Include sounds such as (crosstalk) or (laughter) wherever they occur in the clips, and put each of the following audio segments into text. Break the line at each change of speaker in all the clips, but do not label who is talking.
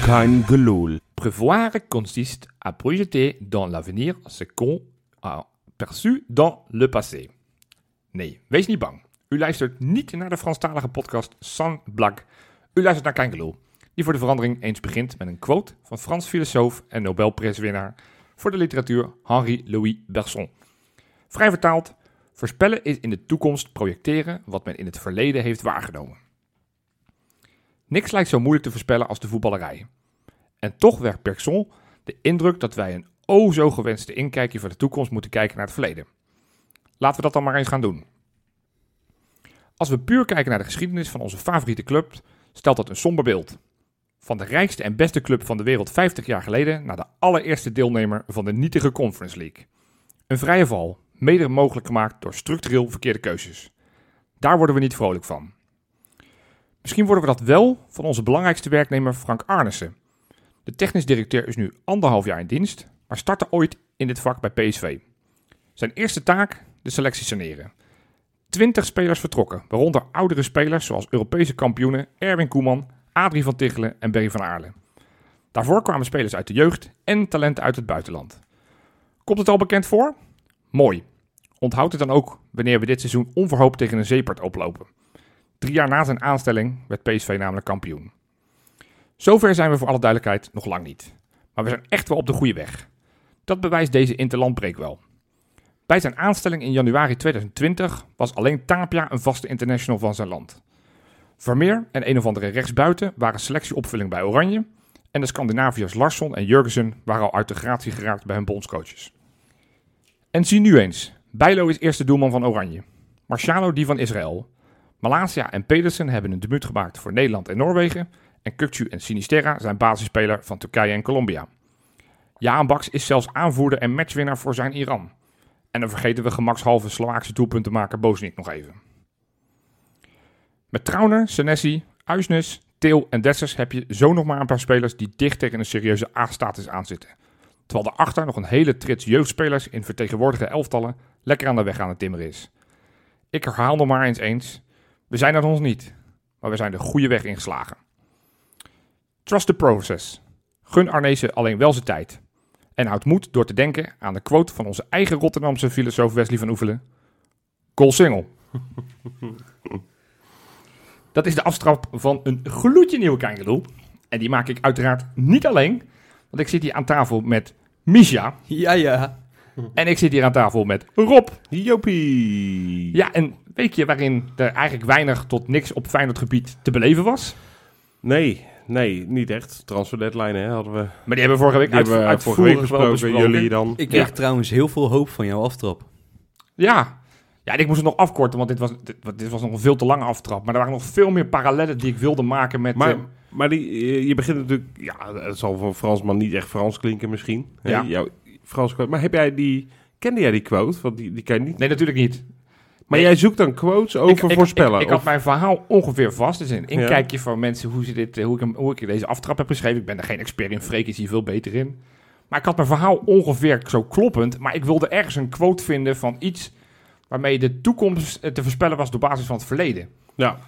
Kein gelul.
Prévoir consiste à projeter dans l'avenir ce qu'on a perçu dans le passé. Nee, wees niet bang. U luistert niet naar de Franstalige podcast San Blak. U luistert naar Kein Gelul, die voor de verandering eens begint met een quote van Frans filosoof en Nobelprijswinnaar voor de literatuur Henri-Louis Bergson. Vrij vertaald, voorspellen is in de toekomst projecteren wat men in het verleden heeft waargenomen. Niks lijkt zo moeilijk te voorspellen als de voetballerij. En toch werkt Bergson de indruk dat wij een o zo gewenste inkijkje voor de toekomst moeten kijken naar het verleden. Laten we dat dan maar eens gaan doen. Als we puur kijken naar de geschiedenis van onze favoriete club, stelt dat een somber beeld. Van de rijkste en beste club van de wereld 50 jaar geleden naar de allereerste deelnemer van de nietige Conference League. Een vrije val, mede mogelijk gemaakt door structureel verkeerde keuzes. Daar worden we niet vrolijk van. Misschien worden we dat wel van onze belangrijkste werknemer Frank Arnissen. De technisch directeur is nu anderhalf jaar in dienst, maar startte ooit in dit vak bij PSV. Zijn eerste taak, de selectie saneren. Twintig spelers vertrokken, waaronder oudere spelers zoals Europese kampioenen Erwin Koeman, Adrie van Tichelen en Berry van Aarle. Daarvoor kwamen spelers uit de jeugd en talenten uit het buitenland. Komt het al bekend voor? Mooi. Onthoud het dan ook wanneer we dit seizoen onverhoopt tegen een zeepert oplopen. Drie jaar na zijn aanstelling werd PSV namelijk kampioen. Zover zijn we voor alle duidelijkheid nog lang niet. Maar we zijn echt wel op de goede weg. Dat bewijst deze interlandbreek wel. Bij zijn aanstelling in januari 2020 was alleen Tapia een vaste international van zijn land. Vermeer en een of andere rechtsbuiten waren selectieopvulling bij Oranje. En de Scandinaviërs Larsson en Jurgensen waren al uit de gratie geraakt bij hun bondscoaches. En zie nu eens. Bijlo is eerste doelman van Oranje. Marciano die van Israël. Malasia en Pedersen hebben een debuut gemaakt voor Nederland en Noorwegen. En Kukcu en Sinisterra zijn basisspeler van Turkije en Colombia. Jaan Baks is zelfs aanvoerder en matchwinnaar voor zijn Iran. En dan vergeten we gemakshalve Slovaakse doelpuntenmaker Bosniak nog even. Met Trauner, Senesi, Uisnes, Til en Dessers heb je zo nog maar een paar spelers die dicht tegen een serieuze A-status aanzitten. Terwijl daarachter nog een hele trits jeugdspelers in vertegenwoordigde elftallen lekker aan de weg aan het timmeren is. Ik herhaal nog maar eens eens, we zijn dat ons niet, maar we zijn de goede weg ingeslagen. Trust the process. Gun Arnezen alleen wel zijn tijd. En houd moed door te denken aan de quote van onze eigen Rotterdamse filosoof Wesley van Oefelen. Goal single. (laughs) dat is de aftrap van een gloedje nieuwe Kangeloel. En die maak ik uiteraard niet alleen, want ik zit hier aan tafel met Misha.
Ja, ja.
En ik zit hier aan tafel met Rob.
Jopie.
Ja, een weekje waarin er eigenlijk weinig tot niks op Feyenoord gebied te beleven was.
Nee, nee, niet echt. Transfer deadline hè, hadden we.
Maar die hebben we vorige week
Die hebben we
uit,
vorige week
uitvoerig wel
gesproken,
besproken.
jullie dan.
Ik
Ja.
kreeg trouwens heel veel hoop van jouw aftrap.
Ja. Ja, en ik moest het nog afkorten, want dit was, dit, want dit was nog een veel te lange aftrap. Maar er waren nog veel meer parallellen die ik wilde maken met...
Maar,
eh,
maar die, eh, je begint natuurlijk... Ja, het zal voor een Fransman niet echt Frans klinken misschien. Hè,
Ja.
Jouw Frans quote. Maar heb jij die... Kende jij die quote? Want die, die ken je niet.
nee, natuurlijk niet.
Maar jij zoekt dan quotes over
ik,
voorspellen.
Ik, ik, had
of-
mijn verhaal ongeveer vast. Dus een inkijkje van mensen hoe, ze dit, eh, hoe, ik hem, hoe ik deze aftrap heb geschreven. Ik ben er geen expert in. Freek is hier veel beter in. Maar ik had mijn verhaal ongeveer zo kloppend. Maar ik wilde ergens een quote vinden van iets waarmee de toekomst eh, te voorspellen was door basis van het verleden.
Ja.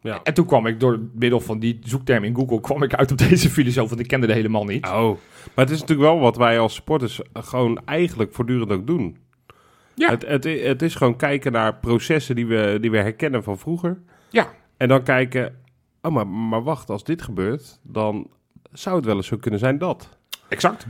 ja.
En toen kwam ik door middel van die zoekterm in Google kwam ik uit op (laughs) deze filosoof, want ik kende de helemaal niet.
Oh. Maar het is natuurlijk wel wat wij als supporters gewoon eigenlijk voortdurend ook doen.
Ja.
Het, het, i- het is gewoon kijken naar processen die we, die we herkennen van vroeger.
Ja.
En dan kijken, oh maar, maar wacht, als dit gebeurt, dan zou het wel eens zo kunnen zijn dat.
Exact.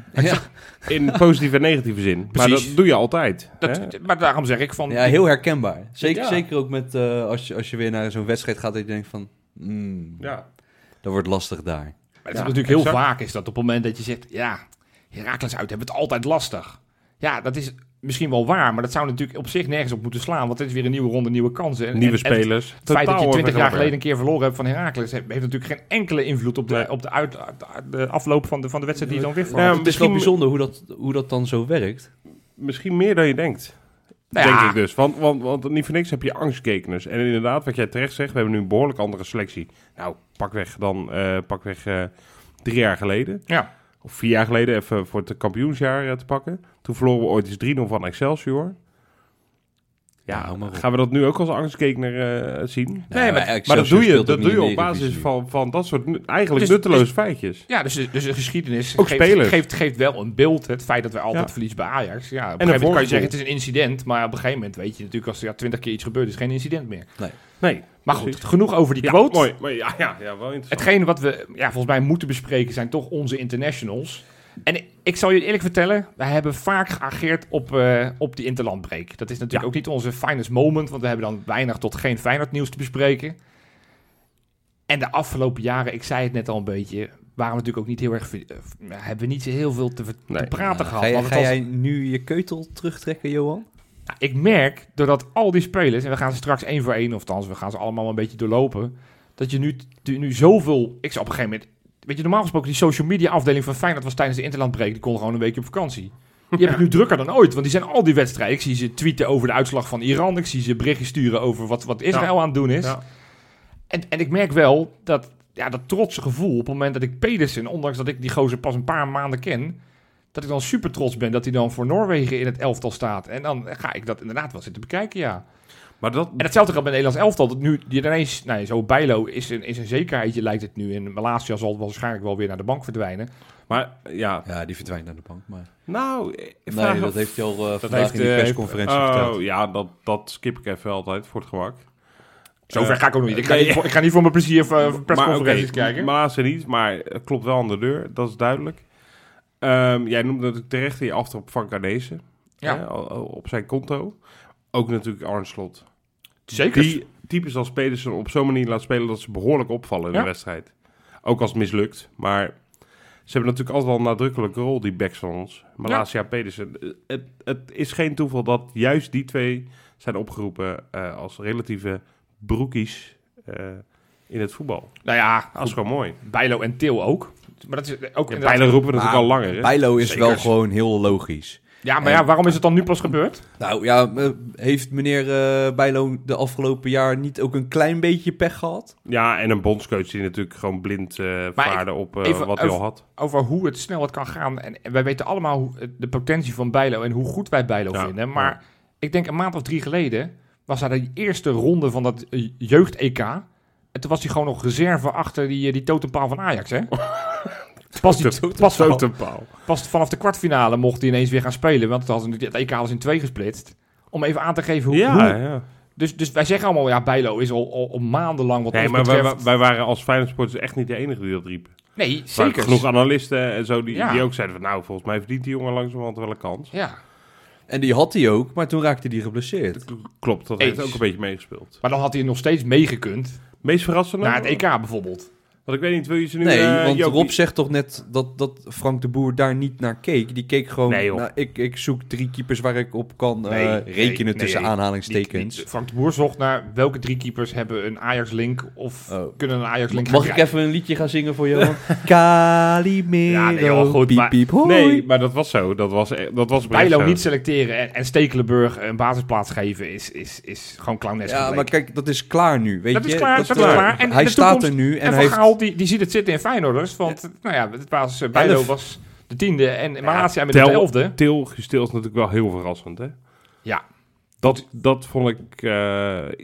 (laughs)
In positieve en negatieve zin. Maar
Precies.
dat doe je altijd. hè?
Dat, maar daarom zeg ik van.
Ja, heel herkenbaar. Zeker,
Ja.
zeker ook met, eh, als, je, als je weer naar zo'n wedstrijd gaat dat je denkt van... mm,
Ja.
Dat wordt lastig daar.
Maar het
Ja,
is natuurlijk heel
exact.
vaak is dat op het moment dat je zegt, ja, Herakles uit hebben het altijd lastig. Ja, dat is misschien wel waar, maar dat zou natuurlijk op zich nergens op moeten slaan, want dit is weer een nieuwe ronde, nieuwe kansen. En-
Nieuwe
en- en
spelers.
Het feit dat je
Totaal
twintig jaar
overgenomen.
geleden een keer verloren hebt van Herakles heeft, heeft natuurlijk geen enkele invloed op de,
Nee.
op de, uit, de afloop van de, van de wedstrijd die dan weer valt.
Ja,
het is wel
misschien-
bijzonder hoe dat, hoe dat dan zo werkt.
Misschien meer dan je denkt.
Nou
denk
ja.
ik dus. Want, want, want niet voor niks heb je angstgekeners. En inderdaad, wat jij terecht zegt, we hebben nu een behoorlijk andere selectie. Nou, pakweg dan, eh pakweg eh, drie jaar geleden.
Ja.
Of vier jaar geleden, even voor het kampioensjaar eh, te pakken. Toen verloren we ooit eens 3-0 van Excelsior. Ja,
hou maar op.
gaan we dat nu ook als angstgekener eh, zien?
Nee, maar-
Maar
Excelsior
dat doe je,
speelt
dat
ook
doe
niet
je
in
op
de Eredivisie
basis
nu.
van, van dat soort nu- eigenlijk
Dus-
nutteloze feitjes.
Ja, dus, dus de geschiedenis
Ook
geeft,
spelers.
Geeft, geeft wel een beeld. Het feit dat wij altijd
Ja.
verliezen bij Ajax. Ja, op
een
een gegeven moment kan je
voorgevoel.
zeggen het is een incident. Maar op een gegeven moment weet je natuurlijk als er ja, twintig keer iets gebeurt is het geen incident meer.
Nee,
Maar goed,
Precies.
genoeg over die
ja,
quote.
mooi. Maar ja, ja, ja, wel interessant.
Hetgene wat we ja, volgens mij moeten bespreken zijn toch onze internationals. En ik, ik zal jullie eerlijk vertellen, wij hebben vaak geageerd op, eh, op die interlandbreek. Dat is natuurlijk ook niet onze finest moment, want we hebben dan weinig tot geen Feyenoord nieuws te bespreken. En de afgelopen jaren, ik zei het net al een beetje, waren we natuurlijk ook niet heel erg, eh, hebben we niet zo heel veel te, ver- te
Nee.
praten
Ja,
gehad.
Ga, jij,
want
ga
het was-
jij nu je keutel terugtrekken, Johan?
nou, ik merk, doordat al die spelers, en we gaan ze straks één voor één, of althans, we gaan ze allemaal een beetje doorlopen, dat je nu, nu- nu zoveel, ik zou op een gegeven moment, weet je, normaal gesproken, die social media afdeling van Feyenoord was tijdens de Interlandbreek, die kon gewoon een weekje op vakantie. Die heb ik nu drukker dan ooit, want die zijn al die wedstrijden. Ik zie ze tweeten over de uitslag van Iran, ik zie ze berichtjes sturen over wat, wat Israël aan het doen is.
Ja.
En, en ik merk wel dat, ja, dat trotse gevoel op het moment dat ik Pedersen, ondanks dat ik die gozer pas een paar maanden ken, dat ik dan super trots ben dat hij dan voor Noorwegen in het elftal staat. En dan ga ik dat inderdaad wel zitten bekijken, ja.
Maar dat,
En hetzelfde gaat bij het Nederlands elftal. Dat nu die ineens, nee, zo Bijlo is een, is een zekerheidje, lijkt het nu. En Malasia zal waarschijnlijk wel weer naar de bank verdwijnen.
maar ja,
Ja, die verdwijnt naar de bank. Maar...
nou... ik vraag
Nee,
me
dat heeft hij al eh, vandaag
heeft,
in die
eh,
persconferentie verteld.
Oh, ja, dat, dat skip ik even altijd voor het gemak.
Zover
Eh,
ga ik ook nog niet. Ik ga,
nee.
niet voor, ik ga niet voor mijn plezier even, eh, persconferenties
oké,
kijken.
Maar ze niet, maar het klopt wel aan de deur, dat is duidelijk. Ehm, jij noemde natuurlijk terecht in je aftrap van Cardezen.
Ja.
hè, o- o- op zijn conto. Ook natuurlijk Arnslot.
Zeker.
Die types als spelers er op zo'n manier laat spelen dat ze behoorlijk opvallen in
Ja.
de wedstrijd. Ook als het mislukt. Maar ze hebben natuurlijk altijd wel een nadrukkelijke rol, die backs van ons. Malasia Pedersen. eh, Het, het is geen toeval dat juist die twee zijn opgeroepen eh, als relatieve broekies eh, in het voetbal.
nou ja,
Dat Ah, is gewoon mooi.
Bijlo en Til ook. Maar dat is ook
Ja,
inderdaad-
Bijlo roepen we
Maar
natuurlijk al langer. Hè?
Bijlo is
Zeker.
wel gewoon heel logisch.
ja, maar ja, waarom is het dan nu pas gebeurd?
Nou ja, eh, heeft meneer eh, Bijlo de afgelopen jaar niet ook een klein beetje pech gehad?
Ja, en een bondscoach die natuurlijk gewoon blind eh, vaarde op eh,
even-
wat hij al
even-
had.
Over hoe het snel het kan gaan. En, en wij weten allemaal hoe, eh, de potentie van Bijlo en hoe goed wij Bijlo
Ja,
vinden. Maar ik denk een maand of drie geleden was daar de eerste ronde van dat eh, jeugd-EK. En toen was hij gewoon nog reserve achter die, eh, die totempaal van
(laughs)
Ajax, hè? Pas, die, pas,
Zo
vanaf,
te paal.
pas vanaf de kwartfinale mocht hij ineens weer gaan spelen. Want het, had, het EK was in twee gesplitst. Om even aan te geven hoe...
Ja,
hoe-
ja.
dus, dus wij zeggen allemaal, ja, Bijlo is al, al, al maandenlang wat
Nee,
ons
maar wij,
betreft...
wij- wij waren als Feyenoordsporters echt niet de enige die dat riepen.
nee,
Er waren
zeker.
genoeg analisten en zo die,
Ja.
die ook zeiden van... nou, volgens mij verdient die jongen langzamerhand wel een kans.
Ja.
En die had hij ook, maar toen raakte hij geblesseerd.
Klopt, dat
Eens.
heeft ook een beetje meegespeeld.
Maar dan had hij nog steeds meegekund.
Meest verrassende?
Naar Nou, het EK bijvoorbeeld.
Want ik weet niet, wil je ze nu...
Nee,
eh,
want
Jopie-
Rob zegt toch net dat, dat Frank de Boer daar niet naar keek. Die keek gewoon,
Nee, joh.
nou, ik, ik zoek drie keepers waar ik op kan eh,
Nee, nee,
rekenen
nee,
tussen
nee.
aanhalingstekens.
Die- die- Frank de Boer zocht naar welke drie keepers hebben een Ajax-link of
Oh.
kunnen een Ajax-link
Mag
gaan
ik even een liedje gaan zingen
(laughs)
voor Johan? Calimero.
Ja, nee, joh, goed,
piep,
maar-
piep, hoi.
Nee, maar dat was zo. Dat was, e- dat was
krijgen.
oprecht
Bijlo
zo.
niet selecteren en, en Stekelenburg een basisplaats geven is, is, is gewoon clownesk.
Ja,
gebleken.
maar kijk, dat is klaar nu. Weet
Dat
je?
is klaar, dat is
eh,
klaar. En
hij
de
staat
toekomst-
er nu en,
en
hij
Van
heeft...
Gaal die, die ziet het zitten in Feyenoorders. Want nou ja, het was, eh, Bijlo
Elf.
was de tiende en ja, Malasia met de
Tel-
elfde.
Til gesteel is natuurlijk wel heel verrassend, hè?
Ja.
Dat, dat vond ik... eh,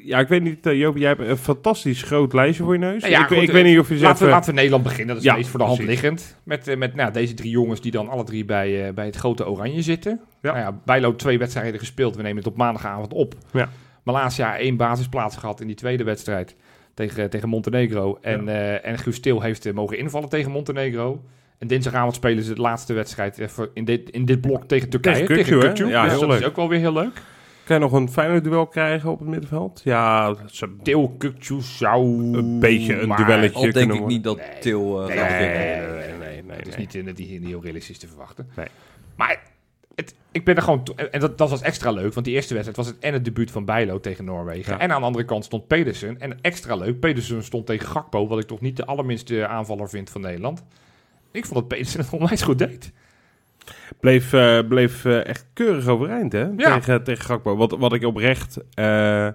ja, ik weet niet, eh, Joop, jij hebt een fantastisch groot lijstje voor je neus.
Nou ja,
ik,
goed,
ik
eh,
weet niet of je zegt...
Laten we,
eh,
laten we Nederland beginnen, dat is
Ja,
het meest voor de hand
precies.
liggend. Met, eh, met nou, deze drie jongens die dan alle drie bij, eh, bij het grote oranje zitten.
Ja.
Nou ja, Bijlo twee wedstrijden gespeeld, we nemen het op maandagavond op.
Ja.
Malasia één basisplaats gehad in die tweede wedstrijd tegen, eh, tegen Montenegro. En, eh, en Guus Til heeft eh, mogen invallen tegen Montenegro. En dinsdagavond spelen ze de laatste wedstrijd eh, voor- in, dit, in dit blok tegen Turkije.
Tegen Kukcu, hè?
Kukcu.
Ja,
Dus
heel
dat is
leuk.
ook wel weer heel leuk.
Kan je nog een fijner duel krijgen op het middenveld? Ja, ze-
Til, Kukcu zou...
Een beetje een
maar-
duelletje.
Al denk
kunnen
ik
worden.
niet dat
Nee.
Til eh,
Nee,
gaat
nee,
winnen.
nee,
nee,
nee,
nee,
nee,
nee,
Het is
nee.
niet eh, dat die niet heel realistisch te verwachten.
Nee.
Maar het, ik ben er gewoon... to- En dat, dat was extra leuk, want die eerste wedstrijd was het en het debuut van Bijlo tegen Noorwegen.
Ja.
En aan de andere kant stond Pedersen. En extra leuk, Pedersen stond tegen Gakpo, wat ik toch niet de allerminste aanvaller vind van Nederland. Ik vond dat Pedersen het onwijs goed deed.
bleef, eh, bleef eh, echt keurig overeind, hè?
Ja.
Tegen, tegen Gakpo. Wat, wat ik oprecht... eh,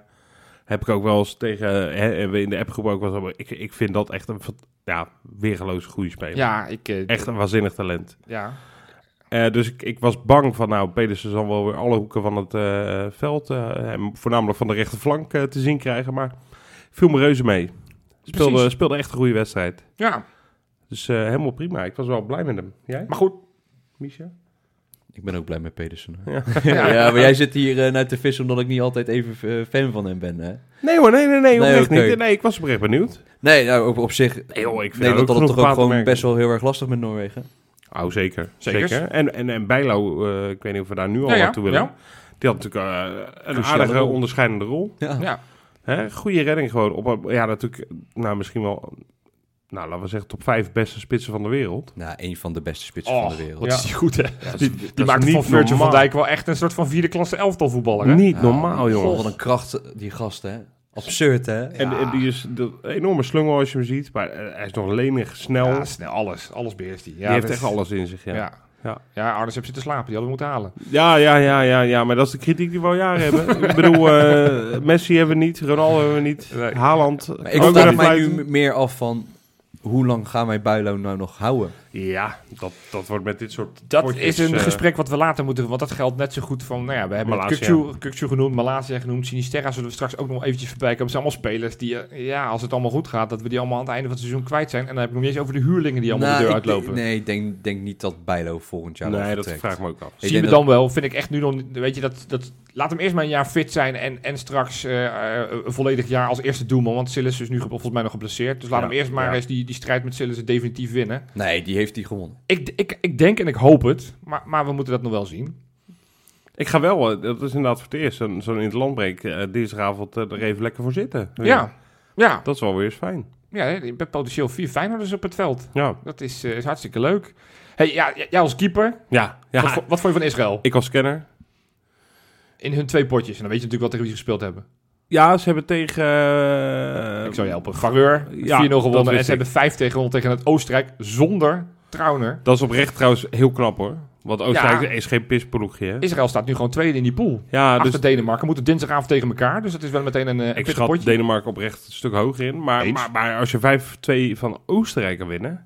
heb ik ook wel eens tegen... Hè, en we in de appgroep ook wel eens over- ik, ik vind dat echt een... fant- Ja, weergeloos goede speler.
Ja, ik... eh,
Echt een waanzinnig talent.
Ja.
Eh, dus ik, ik was bang van, nou, Pedersen zal wel weer alle hoeken van het eh, veld, eh, en voornamelijk van de rechterflank, eh, te zien krijgen. Maar viel me reuze mee. Speelde,
Precies.
speelde echt een goede wedstrijd.
Ja,
Dus eh, helemaal prima. Ik was wel blij met hem. Jij,
maar goed.
Misha?
Ik ben ook blij met Pedersen. hoor.
Ja.
(laughs) Ja, maar jij zit hier eh naar te vissen omdat ik niet altijd even eh, fan van hem ben, hè?
Nee hoor, nee, nee, nee,
Nee,
oprecht
oké.
niet. Nee, ik was oprecht benieuwd.
Nee, nou, op, op zich...
Nee, joh, ik vind
Nederland
dat ook
had het
genoeg
toch ook
op aan te
gewoon
merken.
best wel heel erg lastig met Noorwegen.
Oh, zeker.
Zeker.
Zeker. En, en, en Bijlo, eh, ik weet niet of we daar nu al
Ja, ja,
naartoe willen.
ja.
Die had natuurlijk eh, een
Cruciale
aardige
rol.
onderscheidende rol.
Ja.
Ja.
Hè? Goede redding gewoon. Op, een- ja, natuurlijk, nou misschien wel, nou laten we zeggen, top 5 beste spitsen van de wereld.
Nou, een van de beste spitsen
Oh,
van de wereld.
wat is die goed, hè?
dat is-
die
dat
die
is
maakt
niet
van Virgil van
normaal.
Dijk wel echt een soort van vierde klasse elftal voetballer, hè?
Niet
Ja,
normaal, jongen.
Nou, Wat een kracht, eh, die gast, hè? Absurd, hè?
En, en die is de enorme slungel als je hem ziet. Maar eh, hij is nog lenig, snel.
Ja, snel, alles. Alles beheerst hij. Ja,
die heeft
dat-
echt alles in zich, ja.
Ja.
Ja.
Ja.
Ja.
Arnes heeft zitten slapen. Die hadden we moeten halen.
Ja, ja, ja, ja, Maar dat is de kritiek die we al jaren hebben.
(laughs)
ik bedoel, eh, Messi hebben we niet, Ronaldo hebben we niet,
Nee.
Haaland.
Maar ik
ook
vraag
weer
mij nu
fluiten.
m- meer af van... Hoe lang gaan wij Bijlo nou nog houden?
Ja, dat, dat wordt met dit soort
Dat
potjes,
is een
eh,
gesprek wat we later moeten... Want dat geldt net zo goed van... Nou ja, we hebben
Malasia.
Kukcu- Kukcu genoemd, Malasia genoemd, Sinisterra zullen we straks ook nog eventjes voorbij komen. Het zijn allemaal spelers die, eh, ja, als het allemaal goed gaat, dat we die allemaal aan het einde van het seizoen kwijt zijn. En dan heb ik nog niet eens over de huurlingen die allemaal
Nou,
de deur
ik denk-
uitlopen.
Nee, ik denk, denk niet dat Bijlo volgend jaar nog
Nee, dat
vertrekt.
vraag ik me ook af.
Ik
Zie je
denk
me dan wel, vind ik echt nu nog... niet- Weet je, dat, dat, laat hem eerst maar een jaar fit zijn en, en straks eh, eh, een volledig jaar als eerste doelman. Want Sillis is nu ge- volgens mij nog geblesseerd. Dus laat
Ja,
hem eerst maar
ja.
eens die, die strijd met Sillis definitief winnen.
Nee, die heeft hij gewonnen.
Ik, ik, ik denk en ik hoop het, maar, maar we moeten dat nog wel zien.
Ik ga wel, eh, dat is inderdaad voor het eerst, zo'n zo'n in het landbreek eh, dinsdagavond eh, er even lekker voor zitten.
Ja, ja. ja.
Dat is wel weer eens fijn.
je bent potentieel vier Feyenoorders op het veld.
Ja,
Dat is, eh, is hartstikke leuk. Hey, ja, j- jij als keeper,
ja, ja.
wat, vo- wat vond je van Israël?
ik als kenner.
In hun twee potjes. En dan weet je natuurlijk wat tegen wie ze gespeeld hebben.
Ja, ze hebben tegen... eh,
ik zou je helpen. Vareur,
ja,
4-0
dat
gewonnen.
wist
En ze
ik.
hebben 5 tegen gewonnen tegen het Oostenrijk zonder Trauner.
Dat is oprecht trouwens heel knap hoor. Want Oostenrijk
Ja.
is geen pisploegje. hè?
Israël staat nu gewoon tweede in die pool.
Ja, dus
Achter Denemarken moeten dinsdagavond tegen elkaar. Dus dat is wel meteen een, eh, een
ik
pittig
schat
potje.
Denemarken oprecht een stuk hoger in. Maar,
Eens.
maar, maar als je 5-2 van Oostenrijk kan winnen...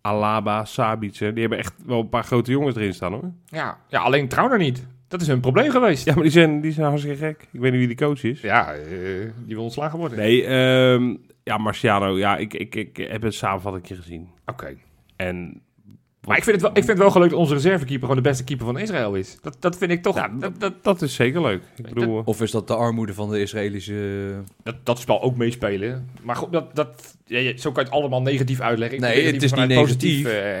Alaba, Sabitzer, die hebben echt wel een paar grote jongens erin staan hoor.
ja. ja, alleen Trauner niet. Dat is hun probleem geweest.
Ja, maar die zijn, die zijn hartstikke gek. Ik weet niet wie die coach is.
Ja, eh, die wil ontslagen worden.
Nee, ehm, ja, Marciano, ja, ik, ik, ik heb een samenvattingje gezien.
Oké.
En
Maar ik vind, het wel, ik vind het wel gelukt dat onze reservekeeper gewoon de beste keeper van Israël is. Dat, dat vind ik toch...
Ja,
dat, dat,
dat is zeker leuk. Ik bedoel, eh,
Of is dat de armoede van de Israëlische...
dat, dat spel ook meespelen. Maar goed, dat, dat, ja, ja, zo kan je het allemaal negatief uitleggen.
Nee,
probeer
het
hier
is niet
vanuit
negatief.
eh,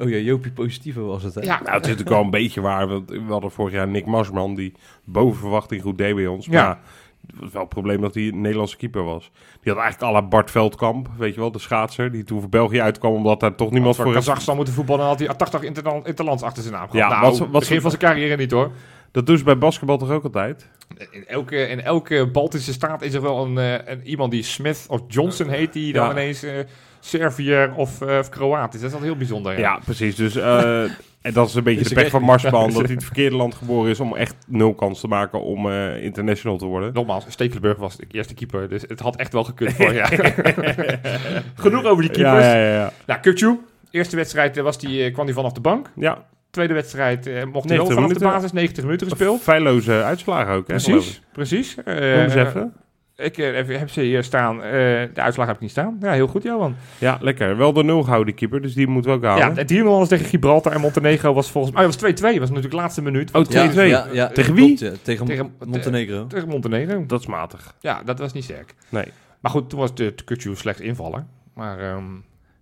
Oh ja, Jopie Positivo was het, hè?
ja,
nou, het is natuurlijk wel een beetje waar. Want we hadden vorig jaar Nick Marsman, die boven verwachting goed deed bij ons.
Ja.
Maar het was wel het probleem dat hij een Nederlandse keeper was. Die had eigenlijk à la Bart Veldkamp, weet je wel, de schaatser. Die toen voor België uitkwam, omdat daar toch niemand
als voor
voor...
Kazachstan moeten voetballen, had hij 80 interland- interlands achter zijn naam gehad.
Ja,
nou,
wat- wat-
begin van zijn carrière niet hoor.
Dat doen ze bij basketbal toch ook altijd?
In elke, in elke Baltische staat is er wel een, eh, een, iemand die Smith of Johnson heet, die dan
Ja.
ineens eh Serviër of, eh, of Kroaat is. Dat is altijd heel bijzonder.
Ja,
ja.
precies. Dus...
(laughs)
eh, En dat is een beetje
Is
de
er
pech van Marsman, dat hij in het verkeerde land geboren is om echt nul kans te maken om eh, international te worden.
Nogmaals, Stekelenburg was de eerste keeper, dus het had echt wel gekund voor
(laughs)
ja. Genoeg over die keepers.
Ja, ja, ja. ja.
Nou, Kukcu, eerste wedstrijd eh, was die, eh, kwam hij vanaf de bank.
ja
Tweede wedstrijd eh, mocht hij
90
wel vanaf de
minuten.
basis, 90 minuten gespeeld.
feilloze uitslagen ook, hè? geloof ik.
Precies, precies. Eh,
Noem eens even.
Ik eh, heb- heb ze hier staan. Eh, de uitslag heb ik niet staan. Ja, heel goed, Johan.
Ja, lekker. Wel de nul gehouden, die keeper, dus die moeten we ook
Ja,
halen.
het 3-0 was tegen Gibraltar en Montenegro was volgens mij... Oh, het was 2-2. was natuurlijk laatste minuut.
Oh,
Ja,
2-2.
ja, ja.
Tegen wie?
Klopt, ja. Tegen,
Tegen-
Montenegro.
Tegen Montenegro.
Dat is matig.
Ja, dat was niet sterk.
Nee.
Maar goed, toen was de de Kutju slecht invaller. Maar ehm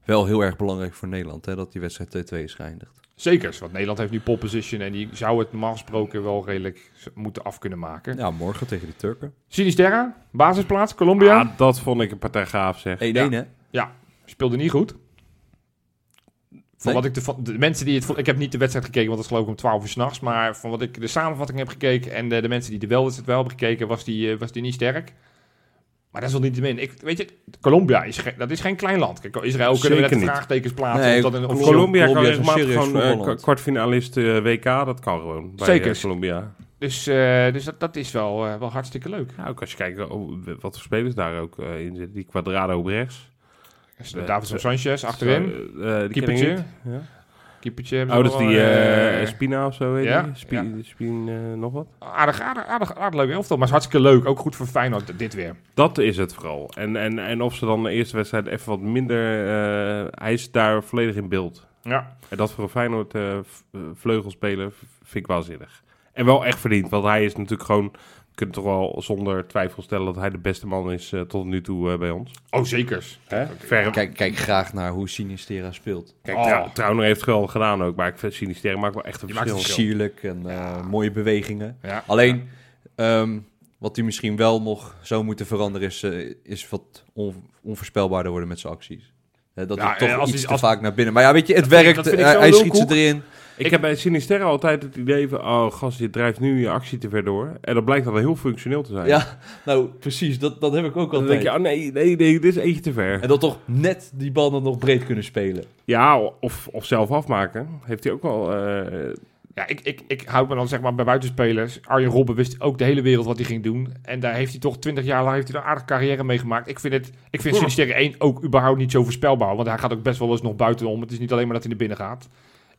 Wel heel erg belangrijk voor Nederland, hè? Dat die wedstrijd 2-2 is geëindigd.
zeker, want Nederland heeft nu pole position... en die zou het normaal gesproken wel redelijk z- moeten af kunnen maken.
Ja, morgen tegen de Turken. 1-1,
Sinisterra, basisplaats, Colombia.
Ah, dat vond ik een partij gaaf, zeg.
Ja.
hè?
Speelde niet goed. Van
Nee?
wat ik de, van- de mensen die het vo- ik heb niet de wedstrijd gekeken, want dat is geloof ik om 12 uur s'nachts. Maar van wat ik de samenvatting heb gekeken en de, de mensen die de wel wedstrijd wel hebben gekeken, was die, eh, was die niet sterk. Maar dat is wel niet te min. Ik, weet je, Colombia is, ge- dat is geen klein land. Kijk, Israël kunnen we
Zeker
net
niet.
vraagtekens plaatsen.
Nee,
of dat een
Col-
officieel-
Colombia kan
Colombia is een
regelmatig
serieus
gewoon eh,
voetballand.
k- kwartfinalist eh, WK, dat kan gewoon. Bij,
Zeker.
eh, Colombia.
Dus, eh, dus dat, dat is wel, eh, wel hartstikke leuk.
Ja, ook als je kijkt oh, wat voor spelers daar ook eh, in zitten. Die Quadrado op rechts.
Dus,
Eh,
Davidson
eh,
Sanchez achterin.
Zo, eh, eh, die ken ik
Keepertje.
niet. Ja.
Keepertje hebben
Oh,
ze
dat is
nog
die
wel,
eh,
eh,
Spina of zo, weet je?
ja,
Spin, Spin, eh, nog wat?
aardig, aardig, aardig, aardig leuk elftal. Maar is hartstikke leuk. Ook goed voor Feyenoord, dit weer.
Dat is het vooral. En, en, en of ze dan de eerste wedstrijd even wat minder... eh, hij is daar volledig in beeld.
Ja,
En dat voor een Feyenoord eh, v- eh, vleugelspeler v- vind ik waanzinnig. En wel echt verdiend, want hij is natuurlijk gewoon... Je kunt toch wel zonder twijfel stellen dat hij de beste man is eh, tot nu toe eh, bij ons.
oh zekers.
Ver,
Kijk, kijk graag naar hoe Sinistera speelt.
Kijk,
Oh.
Trau- Trauner heeft het wel gedaan ook, maar ik vind Sinisterre maakt wel echt een
Die maakt
verschil.
Sierlijk en eh, mooie bewegingen.
Ja.
Alleen, ehm, wat hij misschien wel nog zou moeten veranderen... is, eh, is wat on- onvoorspelbaarder worden met zijn acties. Hè, dat
Ja,
hij toch
eh, als
iets
hij-
te
als-
vaak naar binnen... Maar ja, weet je, het
vind ik-
werkt. eh,
dat vind ik
hij
zo'n
hij schiet ze
lulkoek.
erin.
Ik, heb bij Sinisterre altijd het idee van, oh gast, je drijft nu je actie te ver door. En dat blijkt dan wel heel functioneel te zijn.
Ja, nou precies. Dat, dat heb ik ook
Dan
altijd.
denk je, oh nee, nee, nee, dit is eentje te
ah.
ver.
En dat toch net die bal dan nog breed kunnen spelen.
Ja, of, of zelf afmaken. Heeft hij ook wel... eh,
Ja, ik, ik, ik houd me dan zeg maar bij buitenspelers. Arjen Robben wist ook de hele wereld wat hij ging doen. En daar heeft hij toch twintig jaar lang heeft hij een aardige carrière meegemaakt. Ik vind, het, ik vind
Ja.
Sinisterre 1 ook überhaupt niet zo voorspelbaar. Want hij gaat ook best wel eens nog buitenom. Het is niet alleen maar dat hij naar binnen gaat.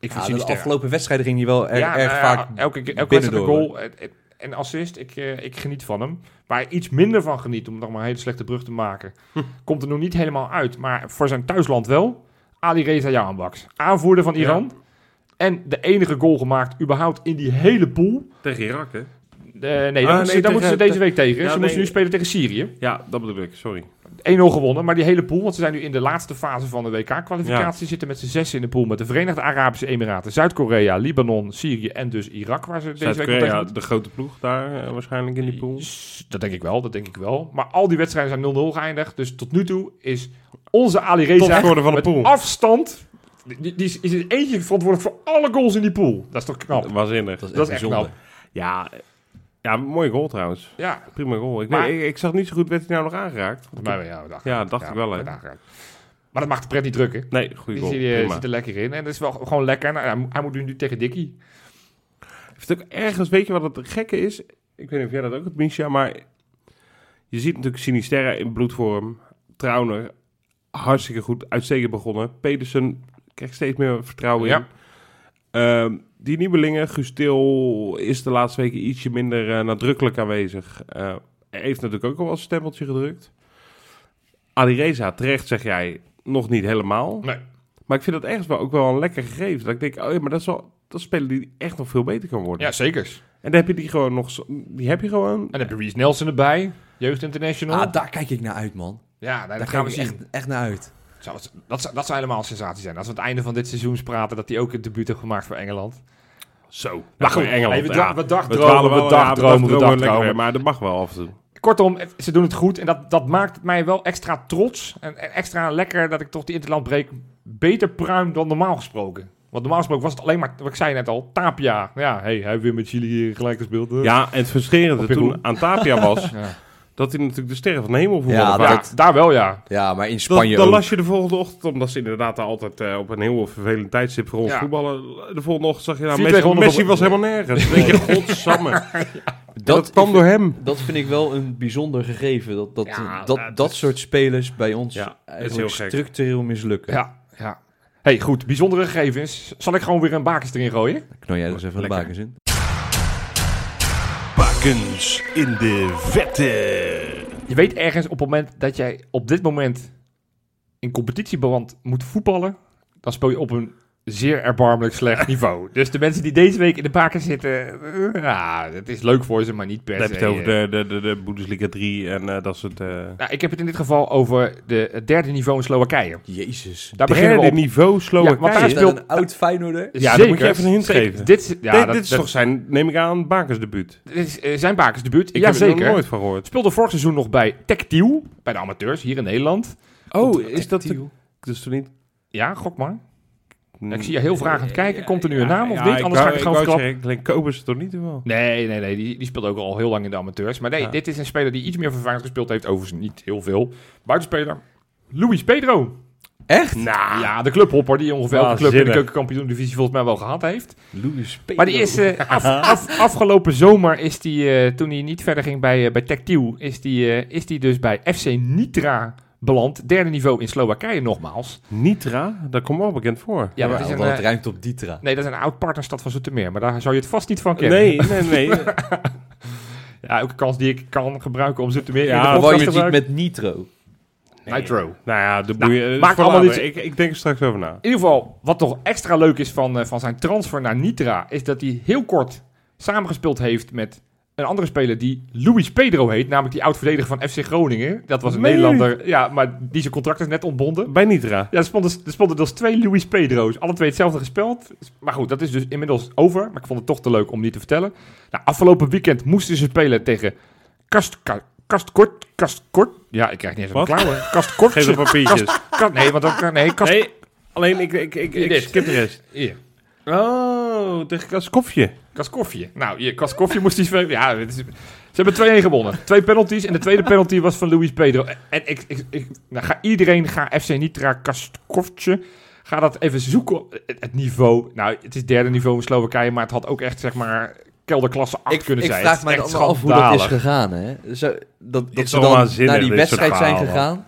Ik vind
Ja, Ah, de
Sinisterre...
afgelopen wedstrijden ging hij wel erg, erg
nou
vaak.
elke keer- elke
binnen
wedstrijd een goal en- en- en assist. Ik, eh, ik geniet van hem. Waar ik iets minder van geniet, om nog maar een hele slechte brug te maken.
Hm.
Komt er nog niet helemaal uit, maar voor zijn thuisland wel. Ali Reza Jahanbaks, aanvoerder van Iran. En de enige goal gemaakt überhaupt in die hele pool.
tegen Irak, hè?
Eh, nee, daar
Ah,
moeten ze,
nee,
daar moeten ze
tegen-
deze week tegen.
Ja,
ze
nee.
moeten nu spelen tegen Syrië. 1-0
Ja, dat bedoel ik, sorry.
gewonnen, maar die hele pool, want ze zijn nu in de laatste fase van de WK-kwalificatie. Zitten met z'n zes in de pool met de Verenigde Arabische Emiraten, Zuid-Korea, Libanon, Syrië en dus Irak, waar ze deze week nog tegen
Zuid-Korea, de grote ploeg daar eh, waarschijnlijk in die pool.
S- Dat denk ik wel, dat denk ik wel. Maar al die wedstrijden zijn 0-0 geëindigd. Dus tot nu toe is onze Ali Reza
Topscorer van de
met
pool.
afstand... Die, die is, is in eentje verantwoordelijk voor alle goals in die pool. Dat is toch knap?
Waanzinnig.
Dat is echt,
dat is echt
bijzonder.
knap.
Ja, eh, ja, mooie goal trouwens.
Ja,
Prima goal. Ik,
Maar-
ik, ik zag niet zo goed, werd hij nou nog aangeraakt?
maar ja, dat,
Ja, dacht ik wel, hè?
dat- Maar dat mag de pret niet drukken.
Nee, goede
Die
goal.
zit, eh,
Prima.
zit er lekker in. En dat is wel gewoon lekker. En hij, moet- hij moet nu tegen Dikkie.
heeft ook ergens, weet je wat het gekke is? Ik weet niet of jij dat ook hebt, Misha, maar je ziet natuurlijk Sinisterra in bloedvorm. Trauner, hartstikke goed, uitstekend begonnen. Pedersen krijgt steeds meer vertrouwen in.
Ja.
Ehm, die nieuwelingen, Gustil is de laatste weken ietsje minder eh, nadrukkelijk aanwezig. Eh, heeft natuurlijk ook al wel een stempeltje gedrukt. Adireza, terecht zeg jij, nog niet helemaal.
Nee.
Maar ik vind dat ergens wel ook wel een lekker gegeven. Dat ik denk, oh ja, maar dat is wel... Dat is een speler die echt nog veel beter kan worden.
Ja, zeker.
En dan heb je die gewoon nog. zo- Die heb je gewoon.
En dan heb je Reece Nelson erbij. Jeugd International.
Ah, daar kijk ik naar uit, man.
ja, nou,
Daar
dat gaan we
kijk
zien.
ik echt, echt naar uit.
Zou het- dat, zou, dat zou helemaal een sensatie zijn. Als we het einde van dit seizoen praten, dat hij ook het debuut heeft gemaakt voor Engeland.
Zo.
Maar goed,
Engeland.
hey, we,
ja.
dag we
dwalen wel-
dagdromen, we
ja, we
dagdromen, we
dagdromen lekker weer,
dagdromen.
Maar dat mag wel af en toe.
Kortom, het- ze doen het goed en dat, dat maakt mij wel extra trots en, en extra lekker dat ik toch die interlandbreek beter pruim dan normaal gesproken. Want normaal gesproken was het alleen maar, wat ik zei net al, Tapia. Ja, hey, hij heeft weer met Chili hier gelijk gespeeld. hè.
Ja, en het
Op
verscherende
Peru.
toen aan Tapia (laughs) was.
Ja.
dat hij natuurlijk de sterren van de hemel voor
Ja,
ja,
Ja, daar wel ja.
Ja, maar in
Dan,
Spanje
dan
ook.
las je de volgende ochtend, omdat ze inderdaad daar altijd eh, op een heel vervelend tijdstip voor ons
Ja.
voetballen. De volgende ochtend zag je nou,
Vier
Messi,
tegen honderd
Messi
op-
was helemaal nergens. Dan denk je, godsamme. En
dat,
dat kwam door hem.
dat vind ik wel een bijzonder gegeven. Dat, dat,
Ja,
dat,
ja, het
dat
is-
soort spelers bij ons
Ja, het is
eigenlijk
heel gek.
structureel mislukken.
Ja, ja. hey, goed, bijzondere gegevens. Zal ik gewoon weer een bakens erin gooien?
Knal jij er eens even de
Lekker.
bakens in.
Bakens in de vette.
Je weet ergens op het moment dat jij op dit moment in competitieband moet voetballen, dan speel je op een zeer erbarmelijk
(laughs)
slecht niveau. Dus de mensen die deze week in de baken zitten, eh, ja, het is leuk voor ze, maar niet per
Dan heb je
se.
het over
eh.
de, de, de, de Bundesliga 3 en eh, dat soort... eh
Nou, ik heb het in dit geval over de, het derde niveau in Slowakije.
Jezus.
Daar beginnen we
derde
op.
niveau
Ja, want
Slowakije. Ja,
daar
Is dat
speelt-
een oud Feyenoorder?
Ja, dan moet je even een hint
Zeker.
geven.
Dit, is- ja, dat,
dit is
dat-
toch zijn, neem ik aan, bakersdebuut.
dit is, eh, zijn bakensdebuut.
Ik
ja,
heb er nog
zeker.
nooit van gehoord.
Speelde vorig seizoen nog bij Tactiel, bij de amateurs hier in Nederland.
Oh, is dat de-
Tiel?
dus toen niet? Mm.
Ja, gok maar. Ik zie je heel vragend kijken. Komt er nu een
Ja,
naam of
ja,
dit? Anders
wou-
ga ik het gewoon
wou
verklappen.
zeggen, Ik denk Kobus toch niet wel.
Nee, nee, nee. Die, die speelt ook al heel lang in de amateurs. Maar nee,
Ja.
dit is een speler die iets meer vervaardigd gespeeld heeft. Overigens niet heel veel. Buitenspeler. Luis Pedro.
Echt?
Nou,
Ja, de clubhopper die ongeveer elke club in de
Waanzinnig.
keukenkampioen divisie volgens mij wel gehad heeft.
Louis Pedro.
Maar die
(laughs)
is eh, af, af- afgelopen zomer, is die, eh, toen hij niet verder ging bij, eh, bij Tactiel, is die, eh, is die dus bij FC Nitra belandt. Derde niveau in Slowakije nogmaals.
Nitra, daar komt wel bekend voor.
Ja, dat
Ja,
is een,
want het
eh,
ruimt op Ditra.
nee, dat is een oud partnerstad van Zoetermeer, maar daar zou je het vast niet van kennen.
nee, nee, (laughs) nee.
Nou Ja, elke kans die ik kan gebruiken om Zoetermeer
Ja,
in de
dat
Waar
podcast
je
te
het ziet
gebruiken.
met Nitro.
Nitro.
nou ja, de
Nou,
boeien. eh,
maakt
voor
allemaal
later. Ik, ik denk er straks over na.
In ieder geval, wat toch extra leuk is van, eh, van zijn transfer naar Nitra, is dat hij heel kort samengespeeld heeft met een andere speler die Luis Pedro heet, namelijk die oud-verdediger van FC Groningen. Dat was een
Nee.
Nederlander, ja, maar die zijn contract is net ontbonden.
Bij Nitra.
Ja, er stonden, er stonden dus twee Luis Pedro's. Alle twee hetzelfde gespeld. Maar goed, dat is dus inmiddels over. Maar ik vond het toch te leuk om niet te vertellen. Nou, afgelopen weekend moesten ze spelen tegen Kast... Ka- Kastkort, Kastkort. Ja, ik krijg niet eens een
Wat?
klauwen. Kastkort.
Geef de papiertjes.
Kast- nee, want dat... (laughs) Nee, Kast...
Nee, alleen ik, ik, ik, ik
Dit.
skip de rest.
Hier.
Oh, tegen Kaskofje.
Kas koffie. Nou, je kas koffie moest hij... Ja, het is- ze hebben 2-1 gewonnen. Twee penalties. En de tweede penalty was van Luis Pedro. En ik, ik, ik, nou, ga iedereen, ga FC Nitra Kastkofje... Ga dat even zoeken. Het, het niveau. Nou, het is derde niveau in Slowakije. Maar het had ook echt, zeg maar, kelderklasse 8
Ik,
kunnen
ik
zijn.
vraag me
Het
dan
is echt
allemaal af hoe dat is
schandalig.
gegaan. Hè? Zo, dat
Dit
dat
is
ze
wel
dan
waanzinnig,
naar die
dit soort
wedstrijd zijn
verhalen.
gegaan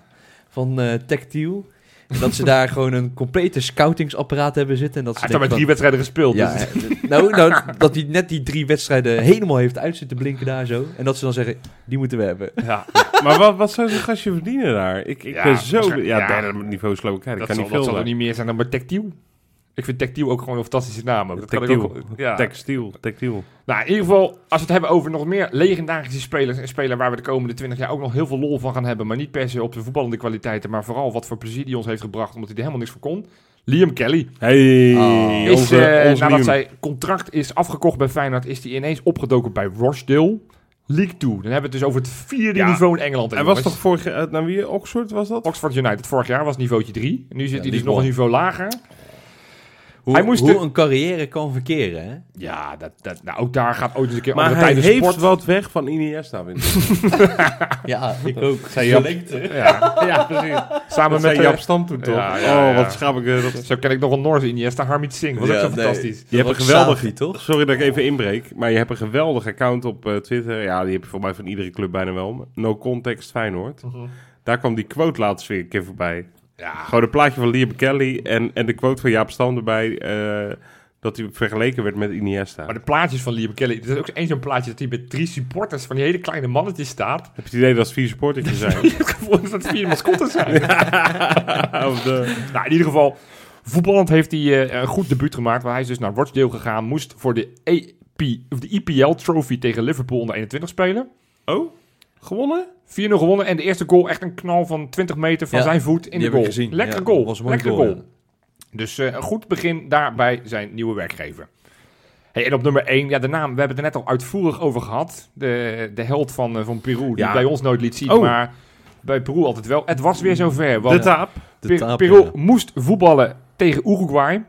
van eh Tactiel. En dat ze
(laughs)
daar gewoon een complete scoutingsapparaat hebben zitten. En dat ze
Hij heeft daar maar drie wedstrijden
denken
gespeeld.
van-
dus-
Ja, eh, (laughs) nou, nou, dat hij net die drie wedstrijden helemaal heeft uit zitten blinken daar zo. En dat ze dan zeggen, die moeten we hebben.
ja.
Maar wat, wat zou zo'n gastje verdienen daar? Ik, ik
Ja,
ben zo...
waarschijnlijk-
Ja,
ja.
derde niveau Slowakije, dat
Dat
kan
zal,
niet
dat
veel
zal er
zijn.
niet meer zijn dan maar Tactiel. Ik vind Tactiel ook gewoon een fantastische naam. Ook. Dat kan ik
Tactiel.
ook- ja.
Textiel, textiel.
Nou, in ieder geval, als we het hebben over nog meer legendarische spelers en spelers waar we de komende 20 jaar ook nog heel veel lol van gaan hebben, maar niet per se op de voetballende kwaliteiten, maar vooral wat voor plezier die ons heeft gebracht, omdat hij er helemaal niks voor kon. Liam Kelly
Hey,
Oh.
onze,
is, eh,
onze
nadat
meme.
zijn contract is afgekocht bij Feyenoord, is hij ineens opgedoken bij Rochdale League 2. Dan hebben we het dus over het vierde
Ja.
niveau in Engeland. hè,
Hij was
jongens.
toch vorig jaar... eh, Naar wie? Oxford was dat?
Oxford United vorig jaar was niveautje 3. Nu zit
Ja,
hij dus
League
nog een
One.
niveau lager.
Hoe,
Hij moest
hoe
de-
een carrière kan verkeren. Hè?
Ja, dat, dat, nou, ook daar gaat ooit eens een keer
Maar
andere
hij
tijden
heeft
sport.
wat weg van Iniesta. vind ik.
Ja, ik ook.
Jap.
lengte.
(laughs) Ja,
ja, precies. Dat
samen met eh,
zei
de-
Jap Stam toen toch?
Ja, ja,
Oh,
ja.
wat schrap ik... eh, dat
Zo ken ik nog een Noorse Iniesta, Harmit Singh. Was
Ja,
ook zo
nee.
fantastisch.
Je hebt een
was
geweldig...
Xavi, toch?
Sorry dat ik even inbreek, maar je hebt een geweldig account op eh, Twitter. Ja, die heb je voor mij van iedere club bijna wel. No Context Feyenoord.
Mhm.
Daar kwam die quote laatst weer een keer voorbij.
Ja,
Gewoon een plaatje van Liam Kelly en, en de quote van Jaap Stam erbij... eh, dat hij vergeleken werd met Iniesta.
maar de plaatjes van Liam Kelly. Er is ook één zo'n plaatje dat hij met drie supporters van die hele kleine mannetjes staat.
Heb
(laughs)
je het idee dat het vier supporters zijn?
Het gevoel is dat het vier mascottes
(laughs)
zijn.
Of de-
Nou, in ieder geval, voetballend heeft hij eh, een goed debuut gemaakt. Waar hij is dus naar Rochdale gegaan. Moest voor de, EP, of de EPL Trophy tegen Liverpool onder 21 spelen.
Oh, gewonnen?
4-0 gewonnen en de eerste goal echt een knal van 20 meter van
Ja,
zijn voet in
die
de
heb ik
goal.
gezien.
Lekker
Ja,
goal.
was een mooie
Lekker goal.
goal,
Dus eh, een goed begin daarbij zijn nieuwe werkgever. Hey, en op nummer 1, ja, de naam, we hebben het er net al uitvoerig over gehad. De, de held van, eh, van Peru, die
Ja.
bij ons nooit liet zien,
Oh.
maar bij Peru altijd wel. Het was weer zover,
De
want
taap.
De
Per-
taap,
Peru
ja.
moest voetballen tegen Uruguay.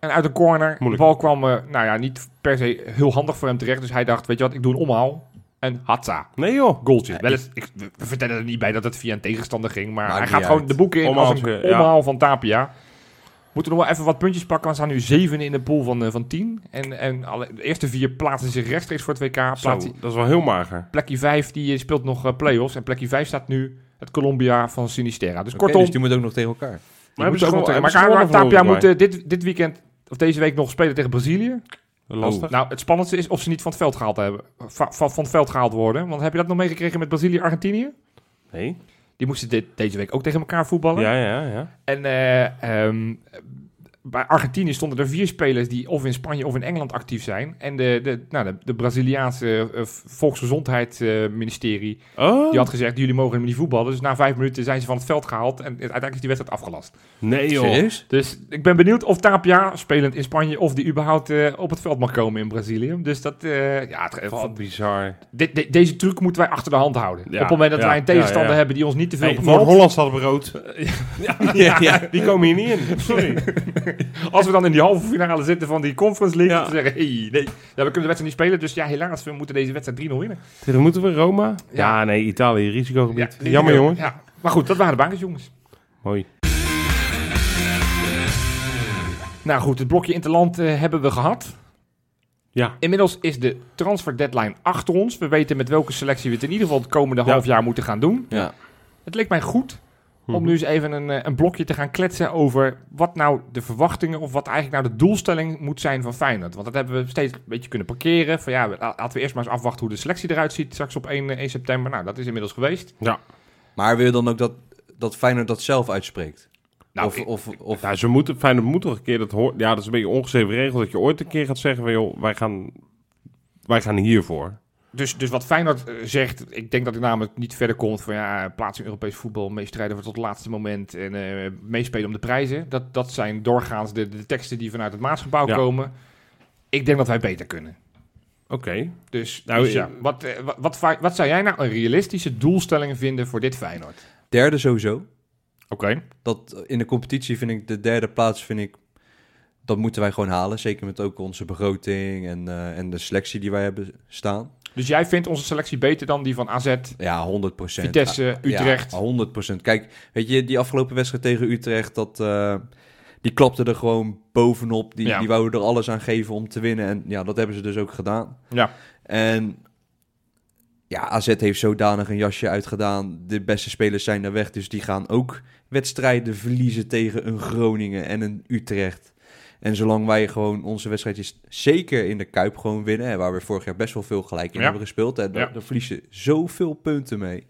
En uit een corner,
Moeilijk.
de bal kwam eh, nou ja, niet per se heel handig voor hem terecht. Dus hij dacht, weet je wat, ik doe een omhaal. En hatsa
Nee joh.
goaltje. Wel eens, ik, we we vertellen er niet bij dat het via een tegenstander ging, maar
Maakt
hij
niet
gaat gewoon
uit.
de boeken in als een
Omhaaltje, ja.
omhaal van Tapia. Moeten nog wel even wat puntjes pakken, want we staan nu zeven in de pool van, eh, van tien. En, en alle, de eerste vier plaatsen zich rechtstreeks voor het WK.
Zo,
Plaatsie,
dat is wel heel mager.
plekje vijf die eh, speelt nog eh, play-offs. En plekje vijf staat nu het Colombia van Sinisterra. Dus
Oké,
kortom,
dus die moet ook nog tegen elkaar.
maar
hebben ze
ook
gewoon-
nog tegen
hebben ze
elkaar. Maar
gewonnen van
Tapia moet
Uruguay?
eh, dit, dit weekend... Of deze week nog spelen tegen Brazilië.
Lastig.
Nou, het spannendste is of ze niet van het veld gehaald hebben. Va- va- van het veld gehaald worden. Want heb je dat nog meegekregen met Brazilië-Argentinië?
Nee.
Die moesten dit, deze week ook tegen elkaar voetballen.
Ja, ja, ja.
En eh, ehm, bij Argentinië stonden er vier spelers die of in Spanje of in Engeland actief zijn. En de, de, nou, de, de Braziliaanse eh, volksgezondheidsministerie
Oh.
die had gezegd, jullie mogen niet voetballen. Dus na vijf minuten zijn ze van het veld gehaald en uiteindelijk is die wedstrijd afgelast.
Nee joh.
(laughs)
Serieus?
Dus ik ben benieuwd of Tapia, spelend in Spanje, of die überhaupt eh, op het veld mag komen in Brazilië. Dus dat, eh, ja, het,
Wat bizar.
dit- dit- deze truc moeten wij achter de hand houden.
Ja,
op het moment dat
ja,
wij een
ja,
tegenstander
ja.
hebben die ons niet te veel
Hey,
bevalt,
Noord-Holland staat (laughs) brood.
Ja, ja.
Die komen hier niet in. (laughs) Sorry.
Als we dan in die halve finale zitten van die Conference League,
Ja.
dan zeggen hey, nee, ja, we kunnen de wedstrijd niet spelen. Dus ja, helaas, we moeten deze wedstrijd 3-0 winnen.
Tegen moeten we Roma?
Ja.
Ja, nee, Italië, risicogebied.
Ja, eh,
Jammer jongen.
Ja. Maar goed, dat waren de bankers, jongens.
Mooi.
Nou goed, het blokje Interland eh hebben we gehad.
Ja.
Inmiddels is de transfer deadline achter ons. We weten met welke selectie we het in ieder geval het komende
Ja.
half jaar moeten gaan doen.
Ja.
Het leek mij goed Om nu eens even een, eh, een blokje te gaan kletsen over wat nou de verwachtingen of wat eigenlijk nou de doelstelling moet zijn van Feyenoord. Want dat hebben we steeds een beetje kunnen parkeren. Van ja, we- la- laten we eerst maar eens afwachten hoe de selectie eruit ziet straks op 1, eh, 1 september. Nou, dat is inmiddels geweest.
Maar wil je dan ook dat, dat Feyenoord dat zelf uitspreekt?
Nou,
of,
ik-
of, of,
Ja, ze moeten, Feyenoord moet toch een keer dat hoort. Ja, dat is een beetje een ongeschreven regel dat je ooit een keer gaat zeggen van joh, wij gaan, wij gaan hiervoor.
Dus, dus wat Feyenoord eh, zegt, ik denk dat ik namelijk niet verder komt van ja, plaats in Europees voetbal, meestrijden voor tot het laatste moment en eh, meespelen om de prijzen. Dat, dat zijn doorgaans de, de teksten die vanuit het Maasgebouw
Ja.
komen. Ik denk dat wij beter kunnen.
Oké.
Dus,
Nou,
dus ja,
eh,
wat, eh, wat, wat, fa- wat zou jij nou een realistische doelstelling vinden voor dit Feyenoord?
derde sowieso.
Oké.
Dat in de competitie vind ik de derde plaats, vind ik, dat moeten wij gewoon halen. Zeker met ook onze begroting en, eh, en de selectie die wij hebben staan.
Dus jij vindt onze selectie beter dan die van AZ,
Ja, 100 procent.
Vitesse, Utrecht?
Ja, Oh. 100 Kijk, weet je, die afgelopen wedstrijd tegen Utrecht, dat, eh, die klapte er gewoon bovenop. Die,
Ja.
die wouden er alles aan geven om te winnen. En ja, dat hebben ze dus ook gedaan.
Ja.
En ja, AZ heeft zodanig een jasje uitgedaan. De beste spelers zijn daar weg, dus die gaan ook wedstrijden verliezen tegen een Groningen en een Utrecht. En zolang wij gewoon onze wedstrijdjes zeker in de Kuip gewoon winnen, hè, waar we vorig jaar best wel veel gelijk in
Ja.
hebben gespeeld, hè, daar,
Ja.
daar verliezen zoveel punten mee.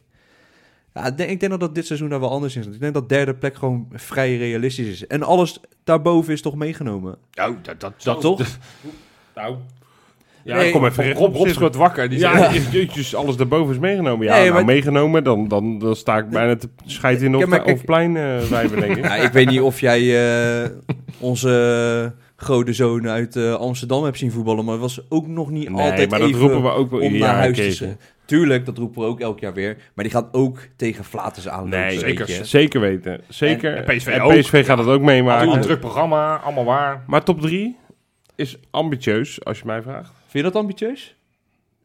Ja, ik denk, ik denk dat dat dit seizoen daar wel anders is. Ik denk dat derde plek gewoon vrij realistisch is. En alles daarboven is toch meegenomen?
Oh, dat, dat,
Dat toch?
Nou. Ja,
Nee,
kom even recht
Rob, Rob
zitten.
schudt wakker. Die
Ja,
zegt,
jeetjes, alles daarboven is meegenomen. Ja,
Nee,
nou,
maar-
meegenomen, dan, dan, dan sta ik bijna te scheiden in de
Ja,
hof-
maar kijk-
Hofplein eh, wijven,
(laughs)
denk ik.
Ja, ik weet niet of jij eh, onze grote zoon uit eh, Amsterdam hebt zien voetballen, maar het was ook nog niet
Nee,
altijd
maar dat
even
roepen we ook wel
om
ieder jaar
naar
een
huis te
keertje.
zeggen. Tuurlijk, dat roepen we ook elk jaar weer, maar die gaat ook tegen Flaters aanlopen.
Nee,
weet
zeker.
je.
Zeker weten. Zeker.
En- en PSV
En
ook.
PSV gaat het ook meemaken.
allemaal een druk programma, allemaal waar.
Maar top 3 is ambitieus, als je mij vraagt.
Vind je dat ambitieus?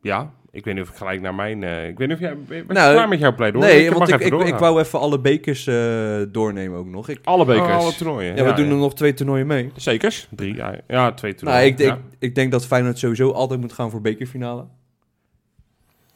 Ja, ik weet niet of ik gelijk naar mijn... eh, ik weet niet of jij... Ben je
Nou,
klaar met jouw pleidooi?
nee,
Je mag
want ik,
even
ik, ik
doorgaan.
wou even alle bekers eh, doornemen ook nog. Ik,
Alle
Oh,
bekers.
alle toernooien.
ja, we doen er nog twee toernooien mee.
Zekers.
Drie, ja, ja twee
Nou,
toernooien.
ik, denk-
ja.
ik denk dat Feyenoord sowieso altijd moet gaan voor bekerfinale.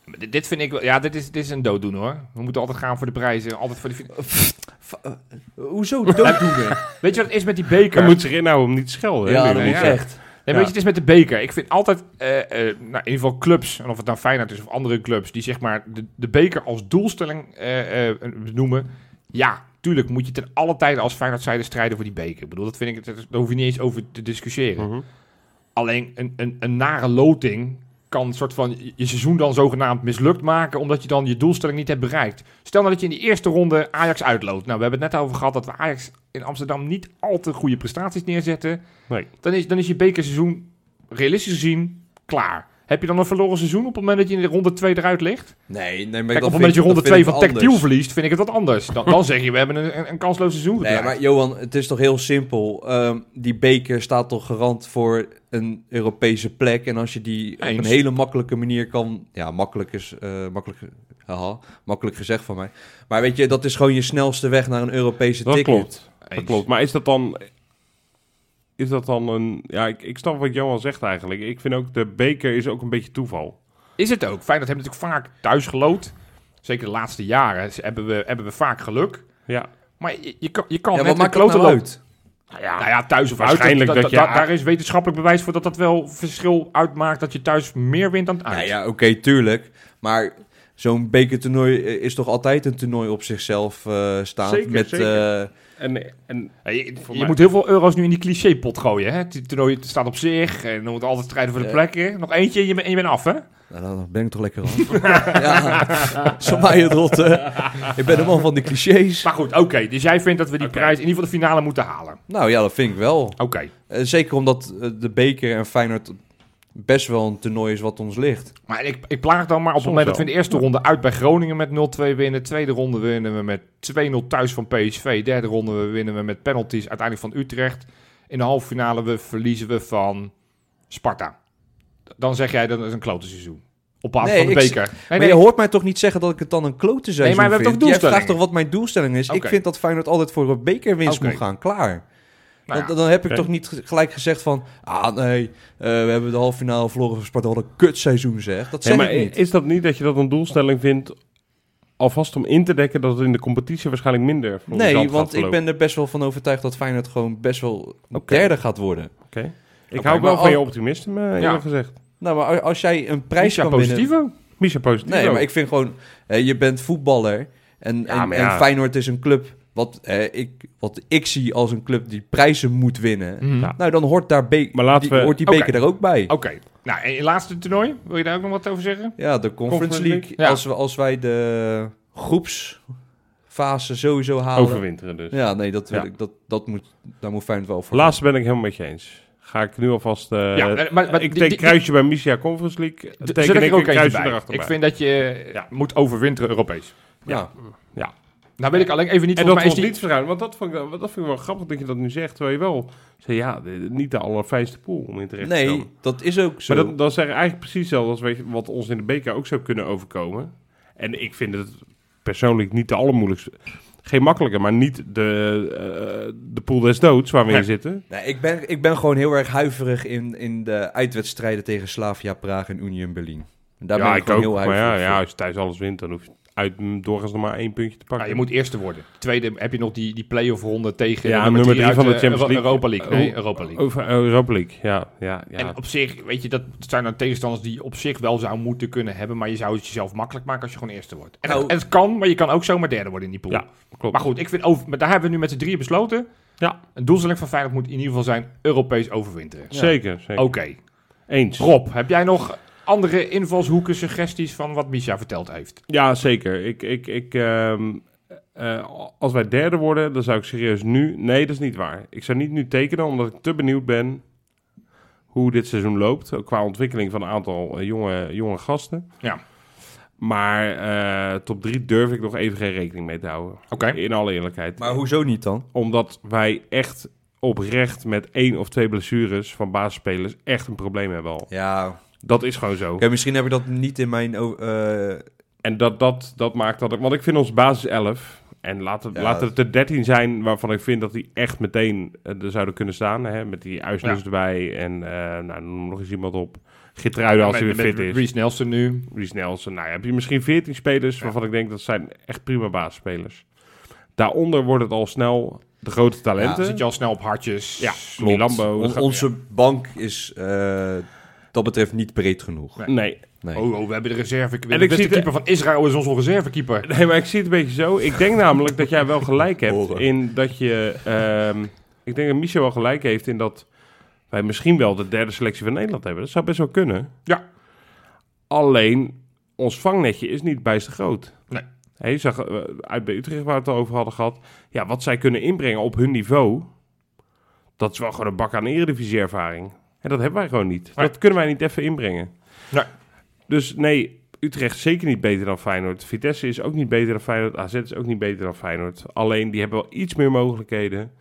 Maar Dit, dit vind ik wel, ja, dit is, dit is een dooddoen hoor. We moeten altijd gaan voor de prijzen, altijd voor die. fin-
Fa- eh, hoezo dooddoener?
Weet je wat het is met die beker?
Hij moet zich inhouden om niet te schelden. hè,
ja,
nu,
dat
hè?
moet
ja.
echt.
Nee,
ja.
weet je, het is met de beker. Ik vind altijd, eh, eh, nou, in ieder geval clubs, en of het nou Feyenoord is of andere clubs, die zeg maar de, de beker als doelstelling eh, eh, benoemen. Ja, tuurlijk moet je ten alle tijde als Feyenoord zijde strijden voor die beker. Ik bedoel, dat vind ik, dat is- daar hoef je niet eens over te discussiëren.
Mhm.
Alleen een, een, een nare loting kan een soort van je seizoen dan zogenaamd mislukt maken, omdat je dan je doelstelling niet hebt bereikt. Stel nou dat je in die eerste ronde Ajax uitloopt. Nou, we hebben het net over gehad dat we Ajax in Amsterdam niet al te goede prestaties neerzetten.
Nee.
Dan is, dan is je bekerseizoen realistisch gezien klaar. Heb je dan een verloren seizoen op het moment dat je in de ronde 2 eruit ligt?
Nee, nee, maar
Kijk,
dat
op het moment dat je
vind-
ronde
dat
2
vind
van
ik
Tactiel
anders.
verliest, vind ik het wat anders. Dan, dan zeg je, we hebben een, een, een kansloos seizoen
Nee,
gedraaid.
maar Johan, het is toch heel simpel. Ehm, die beker staat toch garant voor een Europese plek. En als je die op
Eens.
een hele makkelijke manier kan... Ja, makkelijk is... eh, makkelijk, haha, makkelijk gezegd van mij. Maar weet je, dat is gewoon je snelste weg naar een Europese
Dat
ticket.
klopt. Dat
Eens.
klopt. Maar is dat dan... Is dat dan een... Ja, ik, ik snap wat Johan zegt eigenlijk. Ik vind ook, de beker is ook een beetje toeval.
Is het ook. Feyenoord heeft natuurlijk vaak thuis gelood. Zeker de laatste jaren ze- hebben we, hebben we vaak geluk.
Ja.
Maar je, je kan, je kan
Ja,
net
wat
een
maakt dat
Oh, klote
nou
lood-
uit?
Nou ja, nou ja, thuis of uit.
Waarschijnlijk
dat,
dat je-
dat- daar is wetenschappelijk bewijs voor dat dat wel verschil uitmaakt. Dat je thuis meer wint dan uit.
Nou ja, oké, tuurlijk. Maar zo'n bekertoernooi eh, is toch altijd een toernooi op zichzelf eh staand.
Zeker,
met,
zeker.
eh,
En, en
Ja, je je
mij-
moet heel veel euro's nu in die clichépot gooien. Hè? Het toernooi staat op zich. En dan moet altijd strijden voor de
Ja.
plekken. Nog eentje en je, bent- en je bent af, hè?
Nou, dan ben ik toch lekker af. (laughs) ja, zo mij het rot. eh. Ik ben een man van de clichés.
Maar goed, oké. Dus jij vindt dat we die
Oké.
prijs in ieder geval de finale moeten halen. Oké.
Nou ja, dat vind ik wel. Eh, Zeker omdat eh, de beker en Feyenoord best wel een toernooi is wat ons ligt.
Maar ik, ik plaag dan maar op het
Soms
moment dat we
wel.
in de eerste ronde uit bij Groningen met 0-2 winnen. Tweede ronde winnen we met 2-0 thuis van PSV. Derde ronde winnen we met penalties uiteindelijk van Utrecht. In de halve finale we verliezen we van Sparta. Dan zeg jij dat het een klote seizoen. Op basis
Nee,
van de
ik-
beker. Nee,
maar
nee.
je hoort mij toch niet zeggen dat ik het dan een klote seizoen
Nee, maar we hebben
vind?
toch
Jij
doelstellingen?
vraagt toch wat mijn doelstelling is?
Oké.
Ik vind dat Feyenoord altijd voor een bekerwinst
Oké.
moet gaan. Klaar.
Nou ja,
dan, dan heb ik
oké.
toch niet ge- gelijk gezegd van... Ah nee, eh, we hebben de halve finale verloren van Sparta. Wat een kutseizoen zeg. Dat
Nee,
zeg
maar
ik niet.
is dat niet dat je dat een doelstelling vindt alvast om in te dekken dat het in de competitie waarschijnlijk minder voor
Nee,
Zand gaat
want ik
verlopen.
ben er best wel van overtuigd dat Feyenoord gewoon best wel
Oké.
derde gaat worden.
Oké. Ik
Oké,
hou
maar
wel van
al-
je optimisme, eh, eerlijk
Ja.
gezegd.
Nou, maar a- als jij een prijs
Is ja
kan
positief
winnen...
ook.
Misha positief
Nee,
ook.
maar ik vind gewoon, eh, je bent voetballer en,
Ja,
en,
maar ja.
en Feyenoord is een club wat, eh, ik, wat ik zie als een club die prijzen moet winnen.
Mhm.
Ja.
Nou, dan hoort, daar be-
Hm. Maar laten
die,
we-
hoort die
Oké.
beker daar ook bij.
Oké. Nou, en je laatste toernooi. Wil je daar ook nog wat over zeggen?
Ja, de Conference,
Conference
League.
League.
Ja.
Als, we, als wij de groepsfase sowieso halen...
Overwinteren dus.
Ja, nee, dat, wil
Ja.
ik, dat, dat moet, daar moet Feyenoord wel voor.
Laatste ben ik helemaal met je eens. Ga ik nu alvast... eh,
ja, maar, maar
ik
die-
teken
die-
kruisje bij Misha Conference League.
die-
Teken
zet
ik, ook een
eentje
kruisje
bij.
erachter
Ik vind dat je eh,
Ja.
moet overwinteren Europees.
Ja.
Nou weet ik alleen even niet.
En dat
volgens mij
was
is die-
niet verschuiven. Want dat vond, ik, dat vind ik wel grappig dat je dat nu zegt. Terwijl je wel... Zei, ja, de- niet de allerfijnste pool om in terecht te komen.
Nee, dat is ook zo.
Maar dat, dat is eigenlijk precies hetzelfde als weet je, wat ons in de beker ook zou kunnen overkomen. En ik vind het persoonlijk niet de allermoeilijkste. Geen makkelijke, maar niet de, eh, de pool des doods waar we
Nee.
in zitten.
Nee, ik, ben, ik ben gewoon heel erg huiverig in, in de uitwedstrijden tegen Slavia Praag en Union Berlin. En Daar
ja,
ben ik,
ik
gewoon
ook.
heel
maar
huiverig
ja,
voor.
ja, als je thuis alles wint, dan hoef je uit mm, doorgaans nog maar één puntje te
Nou,
pakken.
je moet eerste worden. Tweede heb je nog die, die play-off ronde tegen
Ja,
nummer
nummer drie
uit
van de
eh,
Champions
Euro-
League.
Europa League. Nee,
Oh,
Europa League.
Over Europa League, ja. ja, ja.
En op zich, weet je, dat zijn dan tegenstanders die je op zich wel zou moeten kunnen hebben. Maar je zou het jezelf makkelijk maken als je gewoon eerste wordt. En,
Nou-
het, en het kan, maar je kan ook zomaar derde worden in die pool.
Ja, klopt.
Maar goed, ik vind over, maar daar hebben we nu met z'n drieën besloten.
Ja.
Een doelstelling van Feyenoord moet in ieder geval zijn Europees overwinteren.
Zeker, zeker.
Oké.
Oh.
Eens.
Rob, heb jij nog andere invalshoeken, suggesties van wat Misha verteld heeft?
Ja, zeker. Ik, ik, ik, ehm, eh, als wij derde worden, dan zou ik serieus nu... Nee, dat is niet waar. Ik zou niet nu tekenen, omdat ik te benieuwd ben hoe dit seizoen loopt. ook Qua ontwikkeling van een aantal eh, jonge, jonge gasten.
Ja.
Maar eh, top 3 durf ik nog even geen rekening mee te houden.
Oké.
In alle eerlijkheid.
Maar hoezo niet dan?
Omdat wij echt oprecht met één of twee blessures van basisspelers echt een probleem hebben al.
Ja, oké,
Dat is gewoon zo.
misschien heb ik dat niet in mijn... o- eh,
En dat, dat, dat maakt dat ik... Want ik vind ons basis 11... En laten,
Ja.
laten het er 13 zijn waarvan ik vind dat die echt meteen eh, er zouden kunnen staan. Hè? Met die Uisnes
Ja.
erbij en eh nou, noem nog eens iemand op. Gitruiden als hij weer
Met-
fit
met
is.
Reece Nelson nu.
Ries Nelson. Nou, ja, heb je misschien 14 spelers waarvan ik denk dat zijn echt prima basisspelers. Daaronder wordt het al snel de grote
Dan
talenten.
zit je al snel op hartjes.
Ja,
klopt.
Milambo.
On- onze bank is eh, dat betreft niet breed genoeg.
Nee,
Nee.
Oh, oh, we hebben de reserve. De
ik
beste
zie de-
keeper van Israël is onze reservekeeper.
(laughs) Nee, maar ik zie het een beetje zo. Ik denk namelijk dat jij wel gelijk hebt
Horen.
in dat je... ehm, ik denk dat Michel wel gelijk heeft in dat wij misschien wel de derde selectie van Nederland hebben. Dat zou best wel kunnen.
Ja.
Alleen, ons vangnetje is niet bijster groot.
Nee.
Hè, je zag eh, uit bij Utrecht waar we het al over hadden gehad. Ja, wat zij kunnen inbrengen op hun niveau... dat is wel gewoon een bak aan eredivisie ervaring. En dat hebben wij gewoon niet.
Nee.
Dat kunnen wij niet even inbrengen.
Nee.
Dus nee, Utrecht zeker niet beter dan Feyenoord. Vitesse is ook niet beter dan Feyenoord. AZ is ook niet beter dan Feyenoord. Alleen die hebben wel iets meer mogelijkheden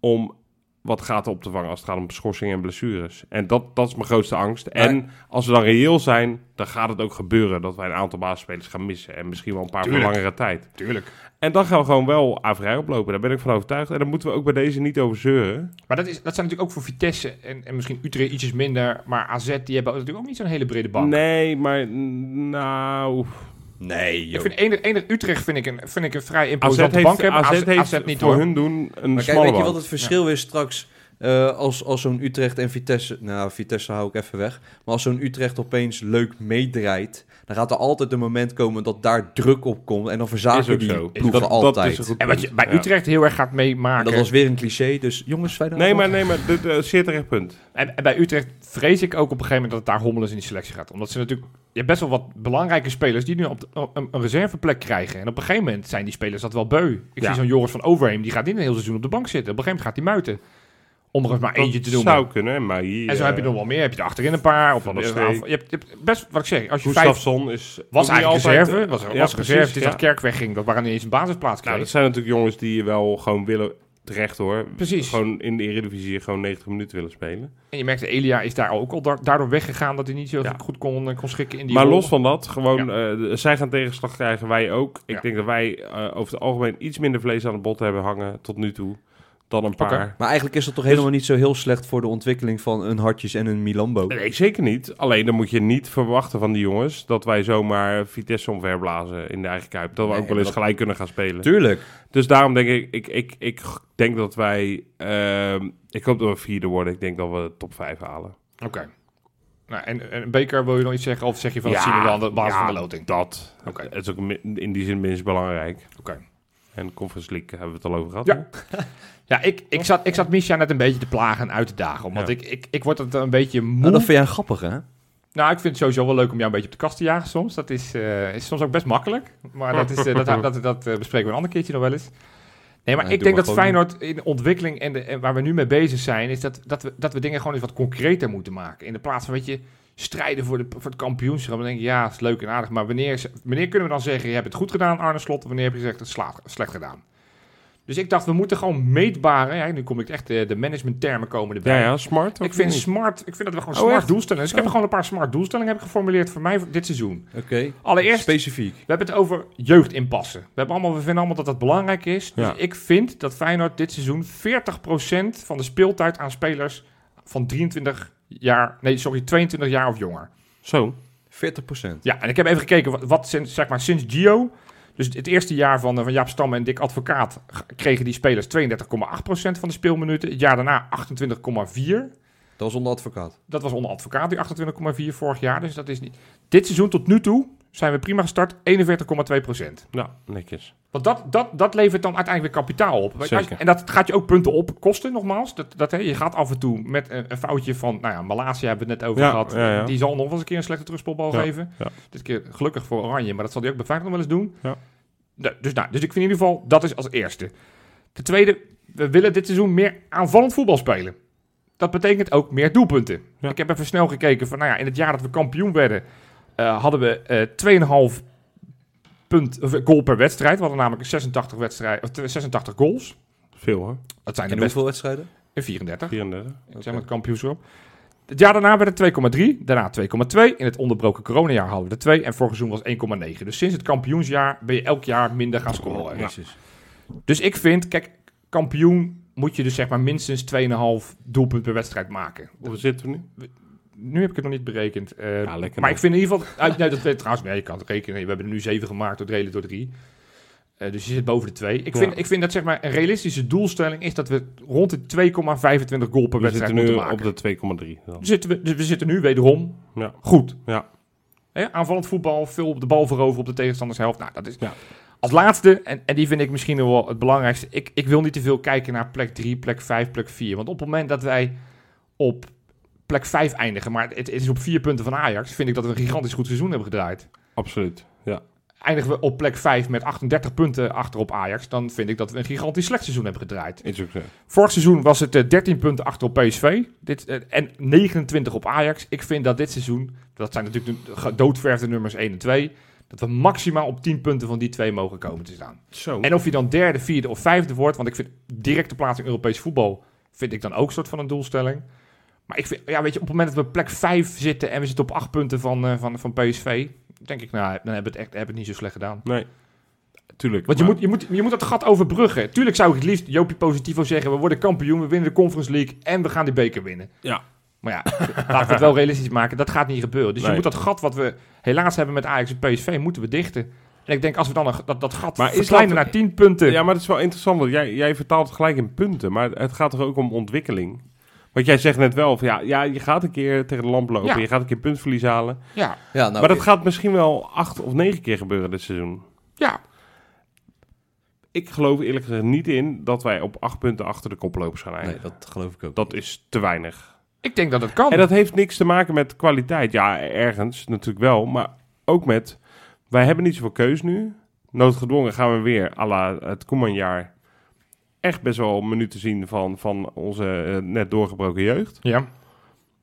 om wat gaten op te vangen als het gaat om schorsingen en blessures. En dat, dat is mijn grootste angst. En als we dan reëel zijn, dan gaat het ook gebeuren dat wij een aantal basisspelers gaan missen. En misschien wel een paar voor
Tuurlijk.
langere tijd.
Tuurlijk.
En dan gaan we gewoon wel averij oplopen. Daar ben ik van overtuigd. En daar moeten we ook bij deze niet over zeuren.
Maar dat, is, dat zijn natuurlijk ook voor Vitesse en, en misschien Utrecht ietsjes minder. Maar AZ, die hebben natuurlijk ook niet zo'n hele brede bank.
Nee, maar mm, nou...
Nee, joh.
Ik vind enig, enig Utrecht vind ik een, vind ik een vrij
AZ
imposante
heeft,
bank hebben.
AZ heeft
niet
voor
hoor.
hun doen een
Maar kijk,
smalle
weet je
bank.
wat het verschil is straks eh, als, als zo'n Utrecht en Vitesse... Nou, Vitesse hou ik even weg. Maar als zo'n Utrecht opeens leuk meedraait... dan gaat er altijd een moment komen dat daar druk op komt... en dan
Is ook
verzaken die
zo.
ploegen
Dat- dat
altijd.
is een goed
En wat je bij
Ja.
Utrecht heel erg gaat meemaken.
dat was weer een cliché, dus jongens, wij
Nee, maar, nee, maar dit eh zeer terecht punt.
En, en bij Utrecht vrees ik ook op een gegeven moment dat het daar hommelens in die selectie gaat. Omdat ze natuurlijk... Je hebt best wel wat belangrijke spelers die nu op de- op een, een reserveplek krijgen. En op een gegeven moment zijn die spelers dat wel beu. Ik
Ja.
zie zo'n Joris van Overheem, die gaat niet een heel seizoen op de bank zitten. Op een gegeven moment gaat hij muiten. Om er eens maar eentje te
Dat
noemen.
zou kunnen, maar hier... eh,
En zo heb je nog wel meer. Heb je er achterin een paar. Of
Van
van je,
der
hebt,
Streek.
je hebt best, wat ik zeg, als je vijf...
Gustafsson is...
Was
ook niet
eigenlijk
altijd- eh,
reserve. Was, was
Ja,
reserve.
precies,
het is
ja.
dat Kerk wegging. Dat waren niet eens een basisplaats kreeg.
Nou, dat zijn natuurlijk jongens die je wel gewoon willen terecht hoor.
Precies.
Gewoon in de Eredivisie gewoon 90 minuten willen spelen.
En je merkte, Elia is daar ook al da- daardoor weggegaan dat hij niet zo
Ja.
goed kon, eh, kon schikken in die
maar
rol.
los van dat, gewoon, eh, zij gaan tegenslag krijgen, wij ook. Ik
Ja.
denk dat wij eh, over het algemeen iets minder vlees aan het bot hebben hangen tot nu toe dan een paar.
Oké.
Maar eigenlijk is dat
Dus-
toch helemaal niet zo heel slecht voor de ontwikkeling van een Hartjes en een Milambo.
Nee, zeker niet. Alleen dan moet je niet verwachten van die jongens dat wij zomaar Vitesse omverblazen in de eigen kuip. Dat we
Nee,
ook wel eens
dat-
gelijk kunnen gaan spelen.
Tuurlijk.
Dus daarom denk ik, ik, ik, ik denk dat wij. ehm, ik hoop dat we vierde worden. Ik denk dat we de top 5 halen.
Oké. Nou, en, en Beker, wil je nog iets zeggen? Of zeg je van,
Ja,
dat zien we wel aan de basis
ja,
van de loting?
Dat.
Oké.
Het is ook min- in die zin minstens belangrijk.
Oké.
En Conference League hebben we het al over gehad.
Ja. Ja, ik, ik, zat, ik zat Misha net een beetje te plagen en uit te dagen. Omdat
Ja.
ik, ik, ik word het een beetje moe.
Nou, dat vind jij grappig, hè?
Nou, ik vind het sowieso wel leuk om jou een beetje op de kast te jagen soms. Dat is, eh, is soms ook best makkelijk. Maar dat, is, eh,
(laughs)
dat, dat, dat eh, bespreken we een ander keertje nog wel eens. Nee, maar
Nee,
ik
doe
denk
maar
dat
gewoon.
Feyenoord in de ontwikkeling en, de, en waar we nu mee bezig zijn... is dat, dat, we, dat we dingen gewoon eens wat concreter moeten maken. In de plaats van, weet je, strijden voor, de, voor het kampioenschap. Dan denk je, ja, is leuk en aardig. Maar wanneer, is- wanneer kunnen we dan zeggen, je hebt het goed gedaan, Arne Slot? Of Wanneer heb je gezegd, het slaat, slecht gedaan? Dus ik dacht, we moeten gewoon meetbare... Ja, nu kom ik echt eh, de managementtermen komen erbij.
Ja, ja, smart. of
Ik vind
niet?
smart, ik vind dat we gewoon
Oh,
smart
echt?
doelstellingen. Dus ik heb
Oh.
gewoon een paar smart doelstellingen heb ik geformuleerd voor mij voor dit seizoen.
Oké.
Allereerst, we
Specifiek.
hebben het over jeugd inpassen. We, hebben allemaal, we vinden allemaal dat dat belangrijk is. Dus
Ja.
ik vind dat Feyenoord dit seizoen 40% van de speeltijd aan spelers van 23 jaar, nee sorry, 22 jaar of jonger.
Zo.
40
Ja, en ik heb even gekeken wat, wat sinds, zeg maar, sinds Gio, dus het eerste jaar van, eh, van Jaap Stam en Dick Advocaat, g- kregen die spelers 32,8% van de speelminuten. Het jaar daarna 28,4%.
Dat is onder advocaat.
Dat was onder advocaat, die 28,4 vorig jaar. Dus dat is niet. Dit seizoen tot nu toe zijn we prima gestart, 41,2
Nou, netjes.
Want dat, dat, dat levert dan uiteindelijk weer kapitaal op. Weet je, als je-
Zeker.
En dat gaat je ook punten op kosten, nogmaals. Dat, dat, hè, je gaat af en toe met een, een foutje van, nou ja, Malasia hebben we het net over
Ja,
gehad.
ja, ja.
Die zal nog wel eens een keer een slechte terugspelbal
Ja,
geven.
ja.
Dit keer gelukkig voor Oranje, maar dat zal hij ook bij Feyenoord nog wel eens doen.
Ja.
Nou, Dus, nou, dus ik vind in ieder geval, dat is als eerste. Ten tweede, we willen dit seizoen meer aanvallend voetbal spelen. Dat betekent ook meer doelpunten.
Ja.
Ik heb even snel gekeken van, nou ja, in het jaar dat we kampioen werden, eh, hadden we eh 2,5 punt, of, eh, goal per wedstrijd. We hadden namelijk 86, wedstrijd, of 86 goals.
Veel hoor.
Dat zijn de
En
best
hoeveel wedstrijden?
in 34.
34.
Ik zeg maar het kampioenschap. Het jaar daarna werd het 2,3, daarna 2,2. In het onderbroken coronajaar hadden we de 2 en vorig seizoen was 1,9. Dus sinds het kampioensjaar ben je elk jaar minder gaan
Oh,
scoren.
Jezus.
Dus ik vind, kijk, kampioen moet je dus zeg maar minstens 2,5 doelpunt per wedstrijd maken.
Hoe zitten we nu?
Nu heb ik het nog niet berekend. eh,
Ja, lekker
maar
dan.
ik vind in ieder geval... uit nee, dat weet trouwens... Nee, je kan het rekenen. We hebben er nu zeven gemaakt door delen door drie. Eh, dus je zit boven de twee. Ik
Ja.
vind, ik vind dat zeg maar een realistische doelstelling is dat we rond de 2,25 goal per
We
wedstrijd
zitten nu
moeten maken.
op de 2,3. dan.
Dus zitten we, dus we zitten nu wederom
Ja.
goed.
Ja.
Hè, aanvallend voetbal, veel op de bal veroveren op de tegenstandershelft. Nou, dat is
Ja.
als laatste, en, en die vind ik misschien nog wel het belangrijkste. Ik, ik wil niet te veel kijken naar plek 3, plek 5, plek 4. Want op het moment dat wij op plek 5 eindigen, maar het, het is op vier punten van Ajax, vind ik dat we een gigantisch goed seizoen hebben gedraaid.
Absoluut. Ja.
Eindigen we op plek 5 met 38 punten achter op Ajax, dan vind ik dat we een gigantisch slecht seizoen hebben gedraaid.
Is ook zo.
Vorig seizoen was het eh, 13 punten achter op PSV dit, eh, en 29 op Ajax. Ik vind dat dit seizoen, dat zijn natuurlijk de gedoodverfde nummers 1 en 2, dat we maximaal op 10 punten van die twee mogen komen te staan.
Zo.
En of je dan derde, vierde of vijfde wordt, want ik vind directe plaats in Europees voetbal, vind ik dan ook een soort van een doelstelling. Maar ik vind, ja, weet je, op het moment dat we plek 5 zitten en we zitten op 8 punten van, eh, van, van PSV, denk ik, nou, dan hebben we het echt hebben we het niet zo slecht gedaan.
Nee. Tuurlijk.
Want je,
maar-
moet, je, moet, je moet dat gat overbruggen. Tuurlijk zou ik het liefst Jopie Positivo zeggen... we worden kampioen, we winnen de Conference League... en we gaan die beker winnen.
Ja.
Maar ja, (laughs) laten we het wel realistisch maken. Dat gaat niet gebeuren. Dus je
Nee.
moet dat gat wat we helaas hebben met Ajax en PSV... moeten we dichten. En ik denk, als we dan een- dat, dat gat
Maar is
verkleinen
dat-
naar 10 punten...
Ja, maar dat is wel interessant, want jij, jij vertaalt het gelijk in punten, maar het gaat toch ook om ontwikkeling? Want jij zegt net wel, van, ja, ja, je gaat een keer tegen de lamp lopen,
Ja.
je gaat een keer puntverlies halen.
ja,
Ja, nou,
maar dat gaat misschien wel acht of negen keer gebeuren dit seizoen.
ja.
Ik geloof eerlijk gezegd niet in dat wij op acht punten achter de koplopers gaan
nee,
eindigen.
dat geloof ik ook.
Dat is te weinig.
ik denk dat het kan.
En dat heeft niks te maken met kwaliteit. Ja, ergens natuurlijk wel, maar ook met... Wij hebben niet zoveel keus nu. Noodgedwongen gaan we weer, à la het Koemanjaar, echt best wel minuten zien van, van onze eh, net doorgebroken jeugd.
Ja,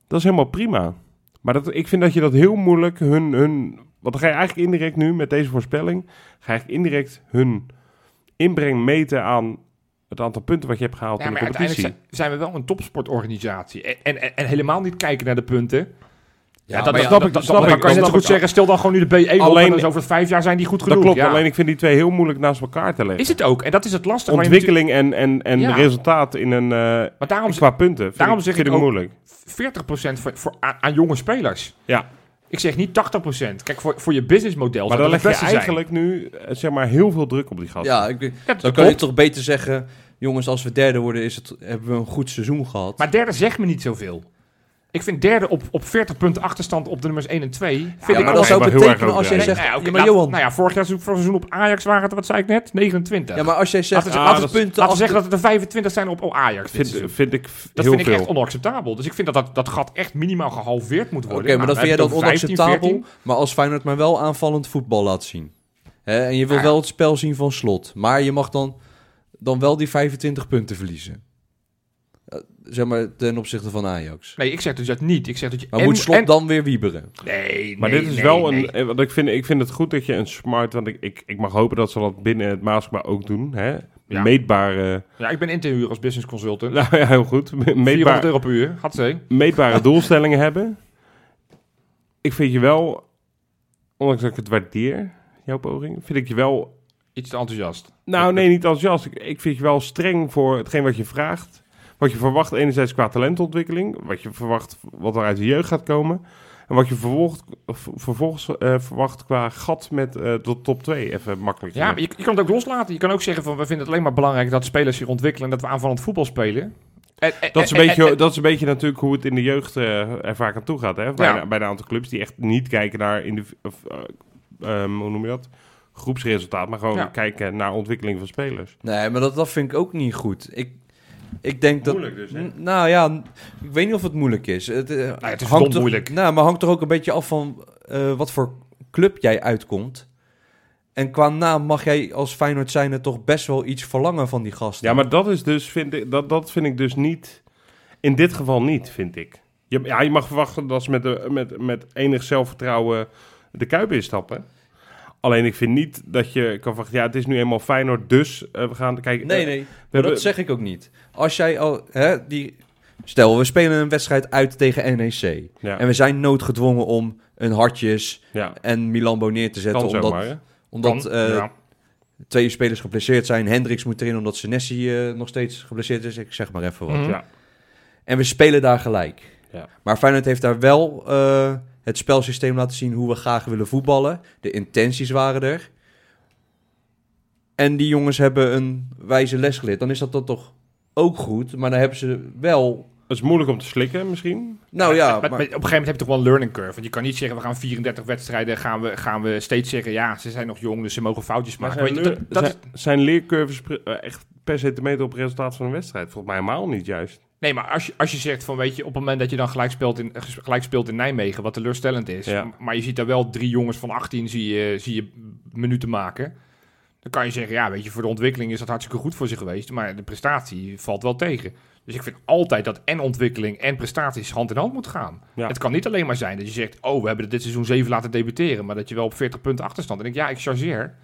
Dat is helemaal prima. Maar dat, ik vind dat je dat heel moeilijk hun, hun... Want dan ga je eigenlijk indirect nu met deze voorspelling... ga je eigenlijk indirect hun inbreng meten aan het aantal punten wat je hebt gehaald
ja
in de
maar
competitie.
uiteindelijk zijn, zijn we wel een topsportorganisatie. En, en, en helemaal niet kijken naar de punten. Ja, dat, dat snap ik. Dat, snap ik.
dat
Dan kan je
snap
net zo goed
ik.
zeggen, stel dan gewoon nu de B1 op
Alleen-
en dan is over de vijf jaar zijn die goed genoeg.
dat klopt,
Ja.
alleen ik vind die twee heel moeilijk naast elkaar te leggen.
Is het ook. En dat is het lastige. waar je
Ontwikkeling en, en, en
Ja.
resultaat in een, eh,
natuurlijk- Maar daarom
qua punten vind
daarom
ik,
zeg
vind
ik
ik
ook-
moeilijk.
zit 40% voor, voor, aan, aan jonge spelers.
Ja,
Ik zeg niet 80%. Kijk, voor, voor je businessmodel
maar
zou
dan leg
dat het
je
beste zijn.
eigenlijk nu eh, zeg maar, heel veel druk op die gasten.
Ja, ik, dan
Ja, dat
kan je
klopt.
toch beter zeggen... Jongens, als we derde worden, is het, hebben we een goed seizoen gehad.
Maar derde zegt me niet zoveel. Ik vind derde op, op 40 punten achterstand op de nummers 1 en 2. Vind
ja,
ik
maar
ook
dat
wel
zou
heel erg
betekenen als jij
overdreven.
zegt...
Nee, nee, oké,
ja, maar
laat-
Johan,
Nou ja, vorig jaar, vorig seizoen op Ajax waren het, wat zei ik net? 29.
ja, maar als jij zegt
laten we,
ah,
laten
dat
we,
is-
punten...
laten we
achter-
zeggen dat het er 25 zijn op Ajax. dit
Vind,
seizoen.
vind ik f-
dat
heel
vind
veel.
ik echt onacceptabel. Dus ik vind dat dat, dat gat echt minimaal gehalveerd moet worden.
Oké, maar dat
Nou,
vind jij
dan
dan
heb je het over 15,
onacceptabel.
14.
Maar als Feyenoord maar wel aanvallend voetbal laat zien. Hè, en je wil
Ja.
wel het spel zien van slot. Maar je mag dan, dan wel die 25 punten verliezen. Eh, Zeg maar ten opzichte van Ajax.
Nee, ik zeg dus dat niet. Ik zeg dat je
Maar
en-
moet slot
en-
dan weer wieberen?
Nee,
Maar
nee,
dit is
nee,
wel
nee.
een. eh, Want ik vind, ik vind het goed dat je een smart. Want ik, ik, ik mag hopen dat ze dat binnen het Maaskma ook doen. Hè?
Ja.
Meetbare. (laughs)
Ja, ik ben in te huur als business consultant.
Nou ja, heel goed. (laughs) Me-
400
Meetbaar,
euro per uur. Had ze.
meetbare doelstellingen hebben. Ik vind je wel. Ondanks dat ik het waardeer, jouw poging. Vind ik je wel.
Iets te enthousiast.
Nou, nee, niet enthousiast. Ik, ik vind je wel streng voor hetgeen wat je vraagt. Wat je verwacht, enerzijds qua talentontwikkeling. Wat je verwacht, wat er uit de jeugd gaat komen. En wat je vervolgt, v- vervolgens eh, verwacht qua gat met eh, de top 2. Even makkelijk.
Ja, maar je, je kan het ook loslaten. Je kan ook zeggen van, we vinden het alleen maar belangrijk dat spelers zich ontwikkelen en dat we aanvallend voetbal spelen. En- en-
Dat is, een
en-
beetje,
en- en-
dat is een beetje natuurlijk hoe het in de jeugd eh, er vaak aan toe gaat. Hè? Bij,
Ja.
een, bij een aantal clubs die echt niet kijken naar in de, of, eh, ehm, hoe noem je dat? groepsresultaat, maar gewoon
Ja.
kijken naar ontwikkeling van spelers.
Nee, maar dat, dat vind ik ook niet goed. Ik, ik denk dat...
Moeilijk dus, hè?
N- Nou ja, n- ik weet niet of het moeilijk is. Het, eh,
het is
hangt
verdomd
toch-
moeilijk.
Nou, maar hangt toch ook een beetje af van eh, wat voor club jij uitkomt. En qua naam mag jij als Feyenoord zijnde toch best wel iets verlangen van die gasten.
Ja, maar dat is dus, vind ik, dat, dat vind ik dus niet, in dit geval niet, vind ik. Je, ja, je mag verwachten dat ze met, de, met, met enig zelfvertrouwen de Kuip instappen. Alleen ik vind niet dat je kan verwachten, ja, het is nu eenmaal Feyenoord, dus eh, we gaan kijken.
Nee,
eh,
nee,
we hebben-
dat zeg ik ook niet. Als jij al... Hè, die... Stel, we spelen een wedstrijd uit tegen NEC.
Ja,
En we zijn noodgedwongen om een Hartjes
ja
en Milambo neer te zetten.
kan
Omdat,
zomaar, hè?
omdat
kan.
eh,
Ja.
twee spelers geblesseerd zijn. Hendricks moet erin omdat Senesi eh, nog steeds geblesseerd is. Ik zeg maar even wat.
Mhm.
Ja.
En we spelen daar gelijk.
Ja.
Maar Feyenoord heeft daar wel eh, het spelsysteem laten zien hoe we graag willen voetballen. De intenties waren er. En die jongens hebben een wijze les geleerd. Dan is dat dan toch ook goed. Maar dan hebben ze wel...
Het is moeilijk om te slikken, misschien.
Nou ja,
Maar- maar
maar,
op een gegeven moment heb je toch wel een learning curve. Want je kan niet zeggen, we gaan 34 wedstrijden, gaan we, gaan we steeds zeggen, ja, ze zijn nog jong, dus ze mogen foutjes
Maar
maken.
zijn,
Weet je,
leur-
dat, dat is-
zijn, zijn leercurves pre- eh, echt per centimeter op het resultaat van een wedstrijd? Volgens mij helemaal niet juist.
nee, maar als je, als je zegt van, weet je, op het moment dat je dan gelijk speelt in, ges- gelijk speelt in Nijmegen, wat teleurstellend is,
Ja.
m- maar je ziet daar wel drie jongens van 18 zie je, zie je minuten maken, dan kan je zeggen, ja, weet je, voor de ontwikkeling is dat hartstikke goed voor ze geweest, maar de prestatie valt wel tegen. Dus ik vind altijd dat en ontwikkeling en prestaties hand in hand moet gaan.
Ja.
Het kan niet alleen maar zijn dat je zegt... oh, we hebben dit seizoen 7 laten debuteren... maar dat je wel op 40 punten achterstand... en ik, ja, ik chargeer.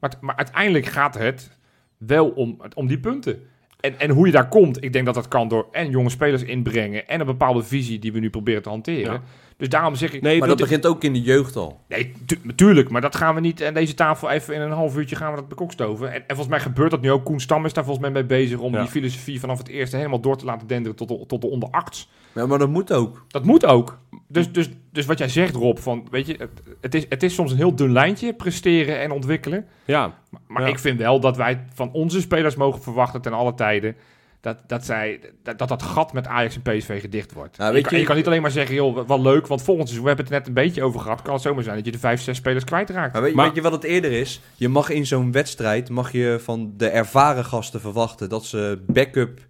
Maar, t- maar uiteindelijk gaat het wel om, om die punten. En, en hoe je daar komt, ik denk dat dat kan door... en jonge spelers inbrengen... en een bepaalde visie die we nu proberen te hanteren.
Ja.
Dus daarom zeg ik...
Nee,
maar dat
dat-
begint ook in de jeugd al.
Nee, tu- natuurlijk, maar dat gaan we niet aan deze tafel even in een half uurtje gaan we dat bekokstoven. En, en volgens mij gebeurt dat nu ook. Koen Stam is daar volgens mij mee bezig om
Ja.
die filosofie vanaf het eerste helemaal door te laten denderen tot de, tot de onder achts.
Ja, maar dat moet ook.
Dat moet ook. Dus, dus, dus wat jij zegt, Rob, van, weet je, het, het, is, het is soms een heel dun lijntje, presteren en ontwikkelen.
Ja,
Maar, maar
Ja.
ik vind wel dat wij van onze spelers mogen verwachten ten alle tijden dat dat, zij, dat, dat dat gat met Ajax en PSV gedicht wordt.
Nou,
je,
weet
kan,
je-
je kan niet alleen maar zeggen, joh, wat- wat leuk, want volgend seizoen, we hebben het er net een beetje over gehad, kan het zomaar zijn dat je de vijf, zes spelers kwijtraakt.
Maar weet,
Maar-
weet je wat het eerder is? Je mag in zo'n wedstrijd mag je van de ervaren gasten verwachten dat ze backup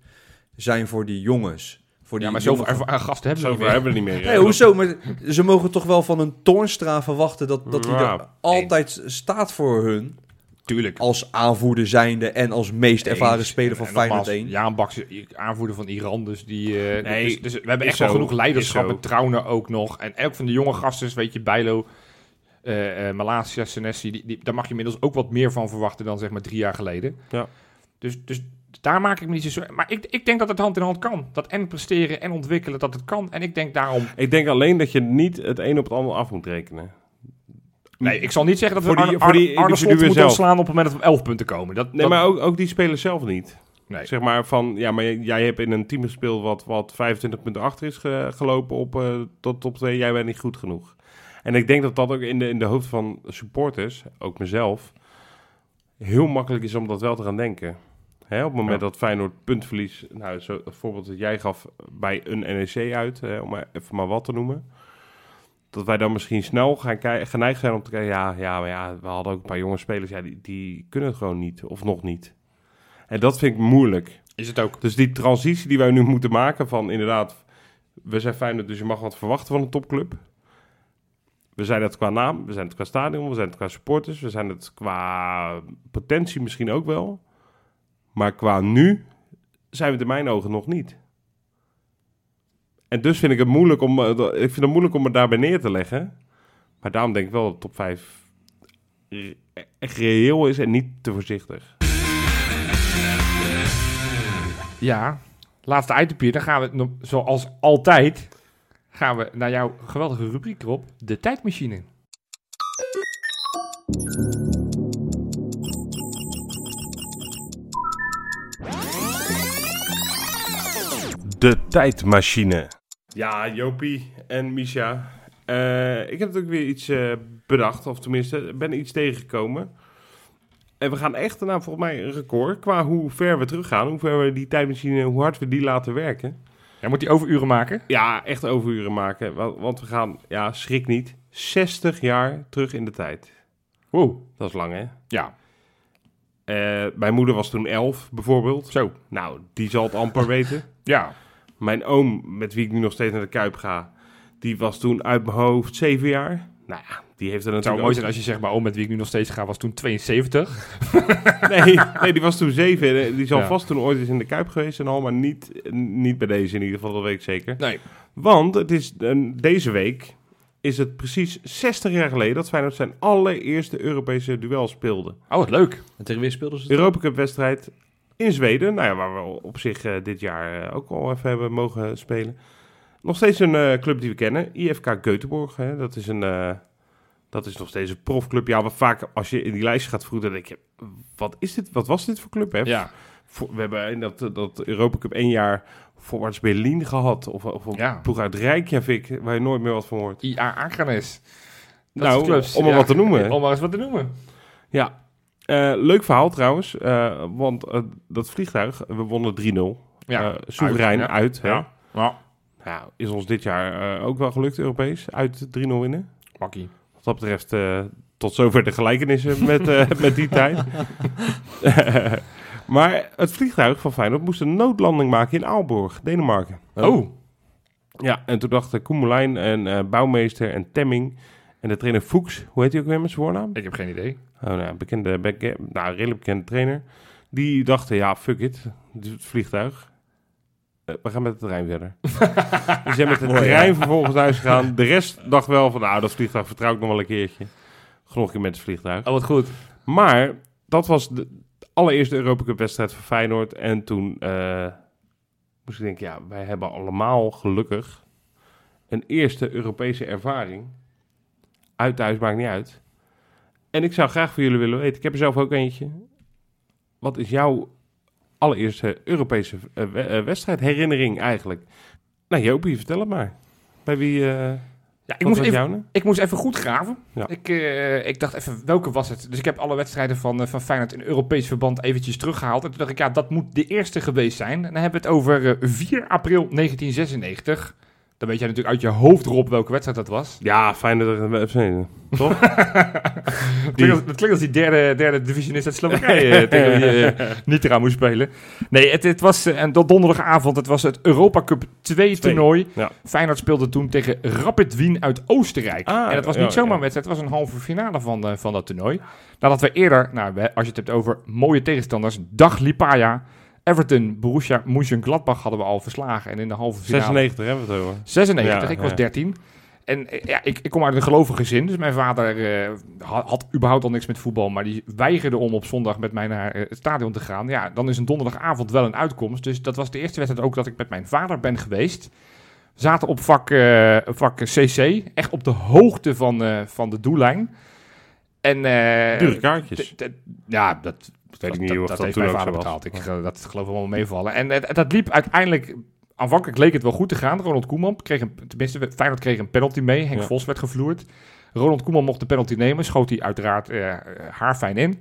zijn voor die jongens. Voor die
ja, maar zoveel
jonge-
ervaren gasten hebben ze
zover
niet meer.
hebben we het niet meer. eh,
Nee, hoezo? Maar ze mogen toch wel van een Toornstra verwachten dat, dat hij
Ja.
er altijd staat voor hun.
Tuurlijk.
Als aanvoerder zijnde en als meest ervaren speler van
En nogmaals,
Feyenoord 1.
Jaan Baks, aanvoerder van Iran. Dus, die, eh,
Nee,
dus, dus we hebben
is
echt wel
zo,
genoeg
is
leiderschap.
zo.
En Trauner ook nog. En elk van de jonge gasten, dus weet je, Bijlo, eh eh Malasia, Senesi. Die, die, daar mag je inmiddels ook wat meer van verwachten dan zeg maar drie jaar geleden.
Ja.
Dus, dus Daar maak ik me niet zo zorgen. Maar ik, ik denk dat het hand in hand kan. Dat en presteren en ontwikkelen, dat het kan. En ik denk daarom...
Ik denk alleen dat je niet het een op het ander af moet rekenen.
Nee, ik zal niet zeggen dat we
Voor die-
Arne,
voor die
Arne- Arne Slot
individuen
moeten
zelf.
ontslaan op het moment dat we op 11 punten komen. Dat,
Nee,
dat-
maar ook, ook die spelers zelf niet.
nee.
Zeg maar van, ja, maar jij- jij hebt in een team gespeeld wat, wat 25 punten achter is ge- gelopen op eh, tot top 2. Jij bent niet goed genoeg. En ik denk dat dat ook in de, in de hoofd van supporters, ook mezelf, heel makkelijk is om dat wel te gaan denken. Hè, op het moment dat Feyenoord puntverlies, nou, zo, het voorbeeld dat jij gaf bij een NEC uit, hè, om maar even maar wat te noemen. Dat wij dan misschien snel gaan kei- geneigd zijn om te kijken, ja, ja, maar ja, we hadden ook een paar jonge spelers, ja, die, die kunnen het gewoon niet, of nog niet. En dat vind ik moeilijk.
Is het ook.
Dus die transitie die wij nu moeten maken van inderdaad, we zijn Feyenoord, dus je mag wat verwachten van een topclub. We zijn het qua naam, we zijn het qua stadion, we zijn het qua supporters, we zijn het qua potentie misschien ook wel. Maar qua nu zijn we het in mijn ogen nog niet. En dus vind ik het moeilijk om, eh, dat- ik vind het moeilijk om me daarbij neer te leggen. Maar daarom denk ik wel dat top 5 re- echt reëel is en niet te voorzichtig.
Ja, laatste item hier. Dan gaan we, nog- zoals altijd, gaan we naar jouw geweldige rubriek erop. De tijdmachine.
De tijdmachine. Ja, Jopie en Misha. Eh, ik heb natuurlijk weer iets eh, bedacht, of tenminste, ben iets tegengekomen. En we gaan echt, nou, volgens mij een record qua hoe ver we teruggaan, hoe ver we die tijdmachine, hoe hard we die laten werken.
Jij moet die overuren maken.
Ja, echt overuren maken, wa- want we gaan, ja, schrik niet, 60 jaar terug in de tijd.
Wow.
Dat is lang, hè?
Ja,
Eh, mijn moeder was toen 11, bijvoorbeeld.
zo.
Nou, die zal het amper weten.
Ja.
Mijn oom, met wie ik nu nog steeds naar de Kuip ga, die was toen uit mijn hoofd zeven jaar. Nou ja, die heeft er
Het zou
natuurlijk
mooi zijn als je zegt, maar oom met wie ik nu nog steeds ga was toen 72.
Nee, nee, die was toen zeven. en eh, Die zal
Ja.
vast toen ooit eens in de Kuip geweest en al, maar niet, eh, niet bij deze in ieder geval, dat weet ik zeker.
Nee.
Want het is, een- deze week is het precies 60 jaar geleden dat Feyenoord zijn allereerste Europese duel speelde.
Oh, wat leuk.
En tegen wie speelden ze het?
Europa Cup wedstrijd in Zweden. Nou ja, waar we op zich eh, dit jaar eh, ook al even hebben mogen spelen. Nog steeds een eh, club die we kennen. IFK Göteborg. Hè, dat, is een, eh, dat is nog steeds een profclub. Ja, wat vaak als je in die lijst gaat vroegen, dan denk je... Wat, is dit, wat was dit voor club? Hè?
Ja.
Voor- we hebben in dat, dat Europa Cup één jaar voorwaarts Berlin gehad. Of, of een
Ja.
ploeg uit Rijkjavik, waar je nooit meer wat van hoort.
IA Aangenes.
Nou, om maar wat te noemen.
Om maar eens wat te noemen.
Ja. Eh, leuk verhaal trouwens, eh, want eh, dat vliegtuig, we wonnen 3-0.
Ja.
Eh, soeverein
Uit,
uit.
ja.
hè?
Ja. Ja.
Nou, is ons dit jaar eh, ook wel gelukt, Europees. Uit 3-0 winnen.
Makkie.
Wat dat betreft, eh, tot zover de gelijkenissen met, eh, (laughs) met die tijd. maar het vliegtuig van Feyenoord moest een noodlanding maken in Aalborg, Denemarken.
Oh.
Ja, en toen dachten Koemelijn en eh, bouwmeester en Temming en de trainer Fuchs, hoe heet hij ook weer met zijn voornaam?
Ik heb geen idee.
Oh, nou, bekende, beke- nou, redelijk bekende trainer. Die dachten, ja, fuck it. Het is het vliegtuig. Eh, we gaan met de trein verder. dus zijn met de trein vervolgens naar huis gegaan. De rest dacht wel van, nou, dat vliegtuig vertrouw ik nog wel een keertje. Genoeg keer met het vliegtuig.
Oh, wat goed.
Maar dat was de allereerste Europa Cup wedstrijd van Feyenoord. En toen eh, moest ik denken, ja, wij hebben allemaal gelukkig een eerste Europese ervaring. Uit thuis maakt niet uit. En ik zou graag van jullie willen weten, ik heb er zelf ook eentje. Wat is jouw allereerste Europese eh, we- eh, wedstrijdherinnering eigenlijk? Nou Jopie, vertel het maar. Bij wie, eh,
Ja, ik
wat
moest
was
even
jouw naam?
Ik moest even goed graven.
Ja.
Ik, eh, ik dacht even, welke was het? Dus ik heb alle wedstrijden van, eh, van Feyenoord in Europees verband eventjes teruggehaald. En toen dacht ik, ja, dat moet de eerste geweest zijn. En dan hebben we het over eh, 4 april 1996. Dan weet jij natuurlijk uit je hoofd, Rob, welke wedstrijd dat was.
Ja, eh, fijn dat er... Toch?
Dat klinkt, als- dat klinkt als die derde, derde divisionist uit
(laughs)
Slowakije eh, tegen wie je eh, niet eraan moest spelen. Nee, het, het was eh, en dat donderdagavond. Het was het Europa Cup 2
Twee,
toernooi.
ja.
Feyenoord speelde toen tegen Rapid Wien uit Oostenrijk.
Ah,
en dat was
ja,
niet zomaar
ja.
een wedstrijd. Het was een halve finale van, eh, van dat toernooi. Nadat we eerder, nou, we- als je het hebt over mooie tegenstanders, Dag Lipaya, Everton, Borussia Mönchengladbach hadden we al verslagen. En in de halve finale...
96 hebben we het over.
96,
Ja,
ik was
ja.
13. En eh, ja, ik, ik kom uit een gelovig gezin, dus mijn vader eh, ha- had überhaupt al niks met voetbal, maar die weigerde om op zondag met mij naar eh, het stadion te gaan. Ja, dan is een donderdagavond wel een uitkomst, dus dat was de eerste wedstrijd ook dat ik met mijn vader ben geweest. We zaten op vak, eh, vak CC, echt op de hoogte van, eh, van de doellijn. En, eh,
Dure kaartjes.
dat- dat- ja, dat,
weet ik niet of dat
heeft
toen
mijn
ook
vader
zo was.
betaald. Ik, eh, dat geloof ik wel meevallen. En eh, dat liep uiteindelijk... Aanvankelijk leek het wel goed te gaan. Ronald Koeman kreeg een... Tenminste, Feyenoord kreeg een penalty mee. Henk
Ja.
Vos werd gevloerd. Ronald Koeman mocht de penalty nemen. Schoot hij uiteraard eh haarfijn in.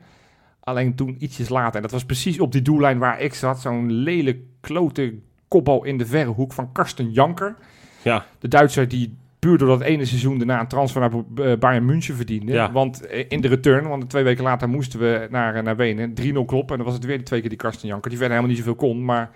Alleen toen ietsjes later. En dat was precies op die doellijn waar ik zat. Zo'n lelijk klote kopbal in de verre hoek van Karsten Janker.
Ja,
De Duitser die puur door dat ene seizoen daarna een transfer naar eh, Bayern München verdiende.
Ja.
Want eh, in de return, want twee weken later moesten we naar, eh, naar Wenen. 3-0 kloppen en dan was het weer de twee keer die Karsten Janker. Die verder helemaal niet zoveel kon, maar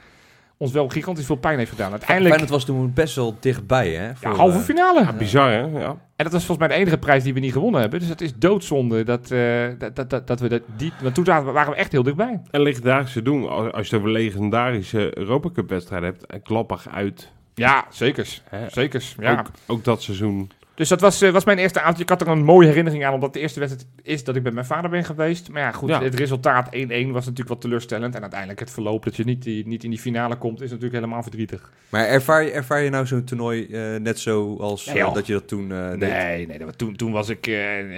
ons wel gigantisch veel pijn heeft gedaan. Uiteindelijk
Feyenoord was toen best wel dichtbij, hè?
ja,
voor,
halve
eh,
finale.
ja, bizar hè? Ja.
En dat was volgens mij de enige prijs die we niet gewonnen hebben. Dus dat is doodzonde dat, eh, dat, dat, dat, dat we dat, die... Want toen zaten we- waren we echt heel dichtbij.
En legendarische doen. Als als je het over legendarische Europa Cup wedstrijden hebt. En klappig uit.
Ja, zekers.
Hè?
Zekers, ja.
Ook, ook dat seizoen.
Dus dat was, eh, was mijn eerste avond. Ik had er een mooie herinnering aan, omdat de eerste wedstrijd is dat ik bij mijn vader ben geweest. Maar ja, goed,
Ja.
het resultaat 1-1 was natuurlijk wat teleurstellend. En uiteindelijk het verloop dat je niet, die, niet in die finale komt, is natuurlijk helemaal verdrietig.
Maar ervaar je, ervaar je nou zo'n toernooi eh, net zo als
Ja,
eh,
joh.
dat je dat toen eh, deed?
Nee, nee, dat was- toen, toen was ik eh,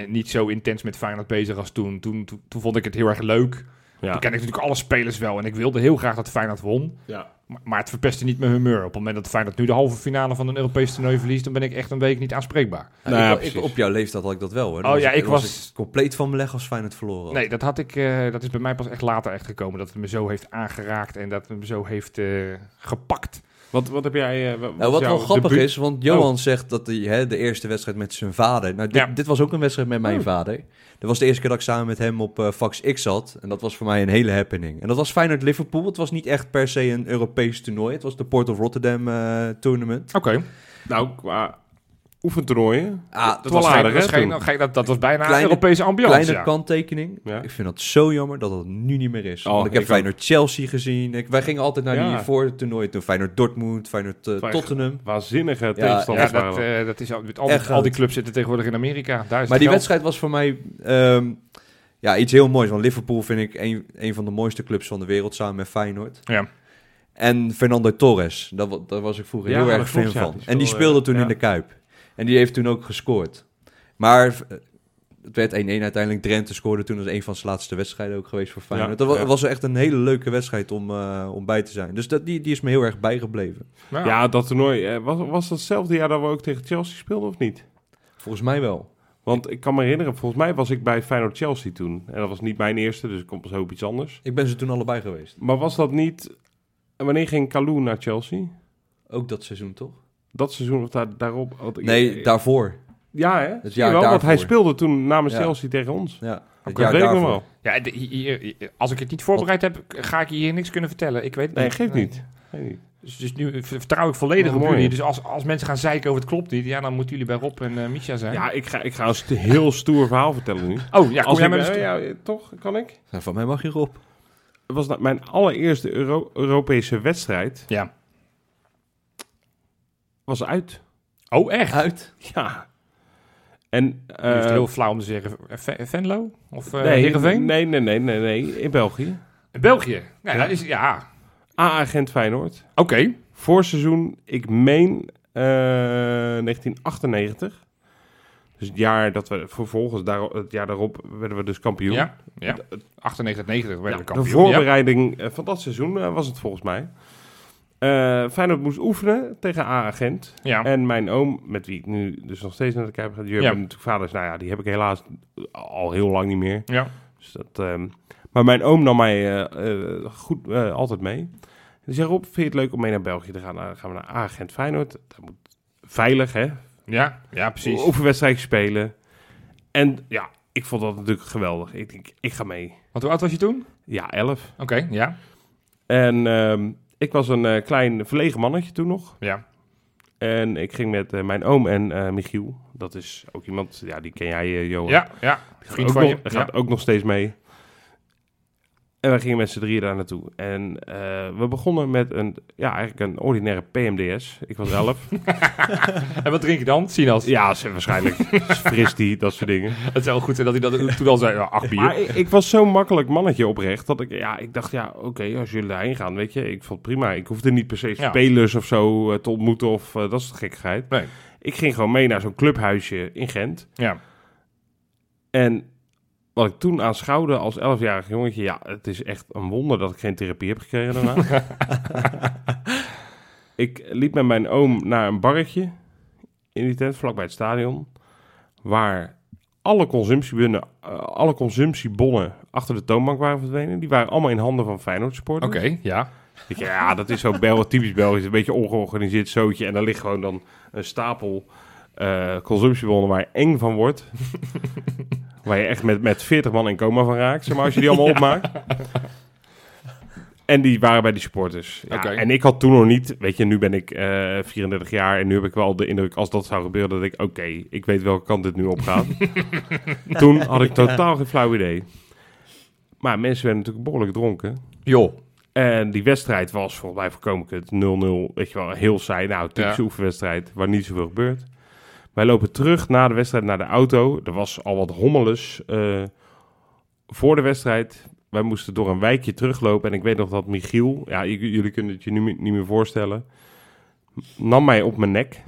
niet zo intens met Feyenoord bezig als toen. Toen, toen, toen vond ik het heel erg leuk.
Ja.
Toen ken ik natuurlijk alle spelers wel en ik wilde heel graag dat Feyenoord won.
Ja.
Maar, maar het verpestte niet mijn humeur. Op het moment dat Feyenoord nu de halve finale van een Europees toernooi verliest, dan ben ik echt een week niet aanspreekbaar.
Nou,
Nou ja,
ik- ik-
precies.
op jouw leeftijd had ik dat wel, hoor. Dan
Oh ja,
dan
ik was-
ik compleet van mijn leg als Feyenoord verloren. had.
Nee, dat, had ik, eh, dat is bij mij pas echt later echt gekomen. Dat het me zo heeft aangeraakt en dat het me zo heeft eh, gepakt.
Wat, wat heb jij... eh, wa- was
Nou, wat wel
jouw
grappig
debuut?
is, want Johan zegt dat hij hè, de eerste wedstrijd met zijn vader. Nou, dit,
Ja.
dit was ook een wedstrijd met mijn
Oh.
vader. Dat was de eerste keer dat ik samen met hem op eh, Fax X zat. En dat was voor mij een hele happening. En dat was Feyenoord Liverpool. Het was niet echt per se een Europees toernooi. Het was de Port of Rotterdam eh, tournament.
Oké.
Nou, qua oefentoernooien.
Ah,
dat
was
was
geen-
aardig
dat, was
hè
geen-
toen.
geen- dat, dat was bijna een
Kleine-
Europese ambiance.
Kleine
ja.
kanttekening.
Ja.
Ik vind dat zo jammer dat dat nu niet meer is.
Oh,
Want ik heb
ik ook.
Feyenoord Chelsea gezien. Ik, wij gingen altijd naar
Ja.
die voortoernooien toe. Feyenoord Dortmund, Feyenoord eh,
Fijn-
Tottenham.
Waanzinnige
Ja,
tegenstanders
echt
dat,
waren.
eh, dat is al, met al,
Echt
al die
groot.
clubs zitten tegenwoordig in Amerika. Daar is
Maar die
het geld.
wedstrijd was voor mij ehm, ja, iets heel moois. Want Liverpool vind ik een, een van de mooiste clubs van de wereld samen met Feyenoord.
Ja.
En Fernando Torres, daar, wa- daar was ik vroeger
Ja,
heel
dat
erg fan
klopt, ja.
van.
Die is
en die
wel,
speelde
eh,
toen
ja.
in de Kuip. En die heeft toen ook gescoord. Maar eh, het werd 1-1 uiteindelijk. Drenthe scoorde toen als een van zijn laatste wedstrijden ook geweest voor Feyenoord. dat wa-
ja.
was echt een hele leuke wedstrijd om, eh, om bij te zijn. Dus dat, die, die is me heel erg bijgebleven.
Nou,
Ja, dat toernooi. eh, Was, was dat hetzelfde jaar dat we ook tegen Chelsea speelden of niet?
Volgens mij wel.
Want ik kan me herinneren, volgens mij was ik bij Feyenoord Chelsea toen. En dat was niet mijn eerste, dus ik kom pas heel op iets anders.
Ik ben ze toen allebei geweest.
Maar was dat niet... en Wanneer ging Kalou naar Chelsea?
Ook dat seizoen toch?
Dat seizoen of daar, daarop? Want ik-
Nee, daarvoor.
Ja, hè?
Het
Zie je
jaar
wel, want hij
daarvoor.
speelde toen namens
Ja.
Chelsea tegen ons.
Ja, het
dat
jaar
weet ik nog
daarvoor.
wel.
Ja, de- hier- hier- als ik het niet voorbereid heb, ga ik hier niks kunnen vertellen. Ik weet het
Nee,
niet.
geeft niet. Geeft niet.
Dus, dus nu ver- vertrouw ik volledig
Oh,
op
mooi.
jullie. Dus als, als mensen gaan zeiken over het klopt niet, ja, dan moeten jullie bij Rob en eh Misha zijn.
Ja, ik ga, ik ga een st- heel stoer verhaal vertellen nu.
oh, ja, kom
Als
jij
ik,
met
eh,
een sto-
ja, eh, toch? Kan ik?
Nou, van mij mag je erop.
Het was dat mijn allereerste Euro- Europese wedstrijd.
Ja.
Was uit.
Oh, echt?
Uit.
Ja. En...
Nu is
eh,
het heel flauw om te zeggen eh, Ve- Venlo of eh
nee,
Heerenveen?
nee, nee, nee, nee, nee. In België.
België. Ja,
Ja.
dat is, ja.
A-agent Feyenoord.
oké.
Voorseizoen, ik meen eh, 1998. Dus het jaar dat we vervolgens, daar, het jaar daarop, werden we dus kampioen.
Ja, ja. 98-90
Ja,
werden we
de
kampioen. Ja.
voorbereiding eh, van dat seizoen eh, was het volgens mij. Eh Feyenoord moest oefenen tegen A-agent.
Ja.
En mijn oom, met wie ik nu dus nog steeds naar de Kuip ga, die hebben natuurlijk vaders. Nou ja, die heb ik helaas al heel lang niet meer.
Ja.
Dus dat, ehm, maar mijn oom nam mij eh, eh, goed eh, altijd mee. Die zei, Rob, vind je het leuk om mee naar België te gaan? Nou, Dan gaan we naar Agent Feyenoord. Dat moet veilig, hè?
ja, ja, precies.
Oefenwedstrijd spelen. En ja, ik vond dat natuurlijk geweldig. Ik denk, ik ga mee.
Want hoe oud was je toen?
Ja, elf.
Oké, ja.
En ehm, ik was een eh, klein verlegen mannetje toen nog.
Ja.
En ik ging met eh, mijn oom en eh, Michiel. Dat is ook iemand, ja, die ken jij, eh, Johan.
Ja, ja.
Gaat
Vriend
ook
van
nog,
je.
Gaat ook nog steeds mee. En wij gingen met z'n drieën daar naartoe. En eh, we begonnen met een, ja, eigenlijk een ordinaire PMDS. Ik was
(laughs)
elf.
(laughs) En wat drink je dan? Sinaas.
ja, ze-
(laughs)
waarschijnlijk fris die, dat soort dingen.
Het zou wel goed zijn dat hij dat toen al zei, ja, acht bier.
Maar ik, ik was zo'n makkelijk mannetje oprecht. Dat ik, ja, ik dacht, ja, oké, als jullie daarheen gaan, weet je, ik vond het prima. Ik hoefde niet per se
Ja.
spelers of zo eh, te ontmoeten of eh, dat soort gekkigheid.
Nee.
Ik ging gewoon mee naar zo'n clubhuisje in Gent.
Ja.
En wat ik toen aanschouwde als 11-jarig jongetje, ja, het is echt een wonder dat ik geen therapie heb gekregen daarna. ik liep met mijn oom naar een barretje in die tent vlakbij het stadion, waar alle consumptiebonnen, eh, alle consumptiebonnen achter de toonbank waren verdwenen. Die waren allemaal in handen van Feyenoord supporters.
Oké, ja.
Ik denk, ja, dat is zo Bel, typisch Belgisch. Een beetje ongeorganiseerd zootje. En daar ligt gewoon dan een stapel eh consumptiebonnen waar je eng van wordt. waar je echt met, met 40 man in coma van raakt, zeg maar, als je die allemaal opmaakt. En die waren bij die supporters. Ja,
Oké.
En ik had toen nog niet, weet je, nu ben ik eh, 34 jaar en nu heb ik wel de indruk, als dat zou gebeuren, dat ik, oké, ik weet welke kant dit nu op gaat. toen had ik totaal geen flauw idee. Maar mensen werden natuurlijk behoorlijk dronken.
Joh.
En die wedstrijd was volgens mij voorkomen het 0-0. Weet je wel, heel saai. Nou, typische
Ja.
oefenwedstrijd waar niet zoveel gebeurt. Wij lopen terug na de wedstrijd naar de auto. Er was al wat hommeles eh, voor de wedstrijd. Wij moesten door een wijkje teruglopen. En ik weet nog dat Michiel, ja, j- jullie kunnen het je nu mi- niet meer voorstellen, nam mij op mijn nek.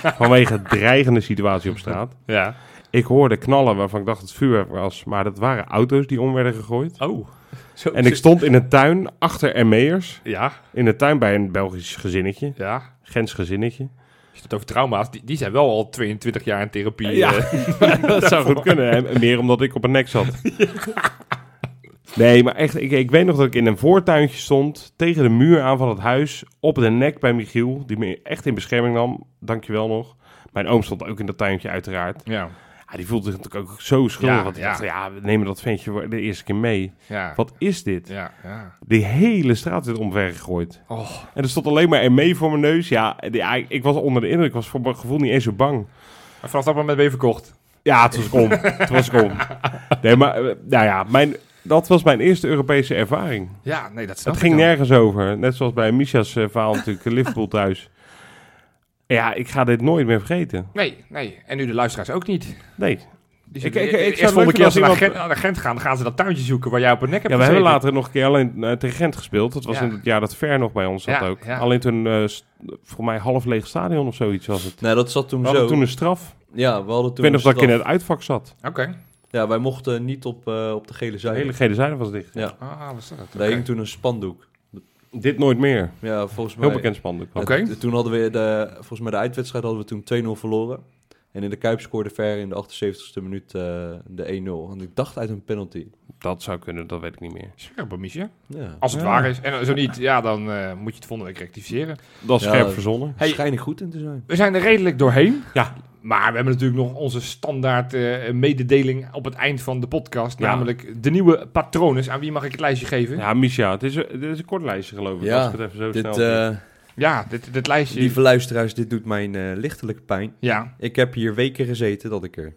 vanwege een dreigende situatie op straat.
Ja.
Ik hoorde knallen waarvan ik dacht dat het vuurwerk was. Maar dat waren auto's die om werden gegooid.
Oh.
En ik stond in een tuin achter Meers.
Ja,
In de tuin bij een Belgisch gezinnetje,
ja.
Gens
(laughs)
gezinnetje.
Als je het over trauma's, die, die zijn wel al 22 jaar in therapie.
Ja.
eh. (laughs)
dat zou goed kunnen. hè. Meer omdat ik op een nek zat. Nee, maar echt, ik, ik weet nog dat ik in een voortuintje stond, tegen de muur aan van het huis, op de nek bij Michiel, die me echt in bescherming nam. Dankjewel nog. Mijn oom stond ook in dat tuintje uiteraard.
ja.
Ja, die voelde zich natuurlijk ook zo schuldig.
Ja,
want ik
ja.
dacht, ja, we nemen dat ventje voor de eerste keer mee.
Ja.
Wat is dit?
Ja, ja.
Die hele straat werd omver gegooid.
Oh.
En er stond alleen maar mee voor mijn neus. Ja, die- ja, ik was onder de indruk. Ik was voor mijn gevoel niet eens zo bang.
En vanaf dat moment ben je verkocht.
Ja, het was kom. het was kom. Nee, maar eh, nou ja, mijn, dat was mijn eerste Europese ervaring.
Ja, nee, dat snap
Het ging
nergens.
nergens over. Net zoals bij Misha's eh, verhaal natuurlijk, eh, Liverpool thuis. Ja, ik ga dit nooit meer vergeten.
Nee, nee. En nu de luisteraars ook niet.
Nee.
Die
Ik-
zullen-
ik- ik zou
eerst
het
volgende
leuk
keer als ze
vinden
naar
als
Gent, naar Gent gaan, gaan ze dat tuintje zoeken waar jij op een nek hebt
Ja, we hebben
gezeten.
later nog een keer alleen eh, tegen Gent gespeeld. Dat was
Ja.
in het jaar dat Ver nog bij ons zat
Ja,
ook.
ja.
Alleen toen, eh, st- voor mij half leeg stadion of zoiets was het.
Nou, dat zat
We
toen zo.
hadden toen een straf.
Ja, we hadden
Ik
toen
weet nog
een
dat ik in
straf.
het uitvak zat.
Oké.
Ja, wij mochten niet op, eh, op de gele
De
zijde.
hele gele zijde was dicht.
Ja,
Ah, wat is dat?
daar hing toen een spandoek.
Dit nooit meer.
Ja, volgens mij...
Heel bekend spandoek.
Oké.
Het- toen hadden we de, volgens mij de uitwedstrijd hadden we toen 2-0 verloren. En in de Kuip scoorde Ver in de 78ste minuut eh, de 1-0. En ik dacht uit een penalty.
Dat zou kunnen, dat weet ik niet meer.
Scherp, Miesje.
Ja.
Als het
Ja.
waar is. En zo niet, ja, dan eh, moet je het volgende week rectificeren.
Dat is
Ja,
scherp
dat-
verzonnen.
Hey.
Schijnig goed in te zijn.
We zijn er redelijk doorheen.
Ja.
Maar we hebben natuurlijk nog onze standaard eh, mededeling op het eind van de podcast.
Ja.
Namelijk de nieuwe patronen. Aan wie mag ik het lijstje geven? Ja,
Ja, Misha, het is, een- dit is een kort lijstje geloof ik.
Ja,
als ik het even zo
Dit,
snel doe.
eh
dit, dit lijstje.
lieve luisteraars, dit doet mijn eh, lichtelijke pijn.
Ja,
Ik heb hier weken gezeten dat ik er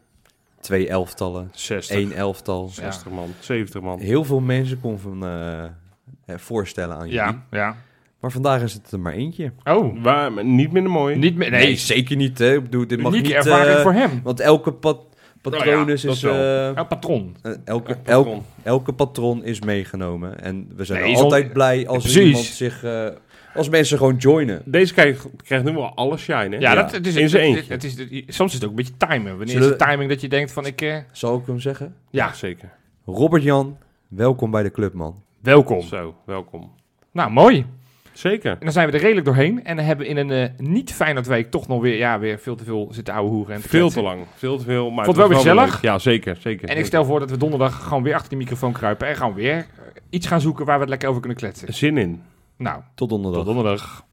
twee elftallen,
60,
één elftal...
60 man, 70 man.
Heel veel mensen kon van, eh, eh, voorstellen aan jullie.
ja, ja.
Maar vandaag is het er maar eentje.
Oh,
Waar, maar niet minder mooi.
niet meer. Nee,
zeker niet. Hè. Ik bedoel, dit mag
unieke
niet...
ervaring
eh,
voor Nou hem.
Want elke pat patronus
ja, dat
is...
wel.
eh,
Oh, patron.
eh, elke, elke,
Patron.
elke patron is meegenomen. En we zijn
Nee, is
altijd
on-
blij als
Precies.
iemand zich... eh, als mensen gewoon joinen.
Deze krijgt, krijgt nu wel alles shine, hè?
Ja,
Ja,
dat het is,
in zijn
het-
eentje.
Het, het is, soms is het ook een beetje timen. Wanneer
Zullen
is de timing dat je denkt van ik... eh,
Zal ik hem zeggen?
ja,
zeker.
Robert-Jan, welkom bij de club, man.
welkom.
Zo, welkom.
Nou, mooi. En
Zeker.
dan zijn we er redelijk doorheen. En dan hebben we in een eh niet fijne week toch nog weer, ja, weer veel te veel zitten ouwe hoeren. En
Veel te
kletsen.
lang, veel te veel. Maar
Vond
het
het
was
wel weer
leuk. Ja, zeker, zeker.
En ik stel voor dat we donderdag gewoon weer achter die microfoon kruipen. En gaan weer eh, iets gaan zoeken waar we het lekker over kunnen kletsen.
Zin in.
Nou,
Tot donderdag.
tot donderdag.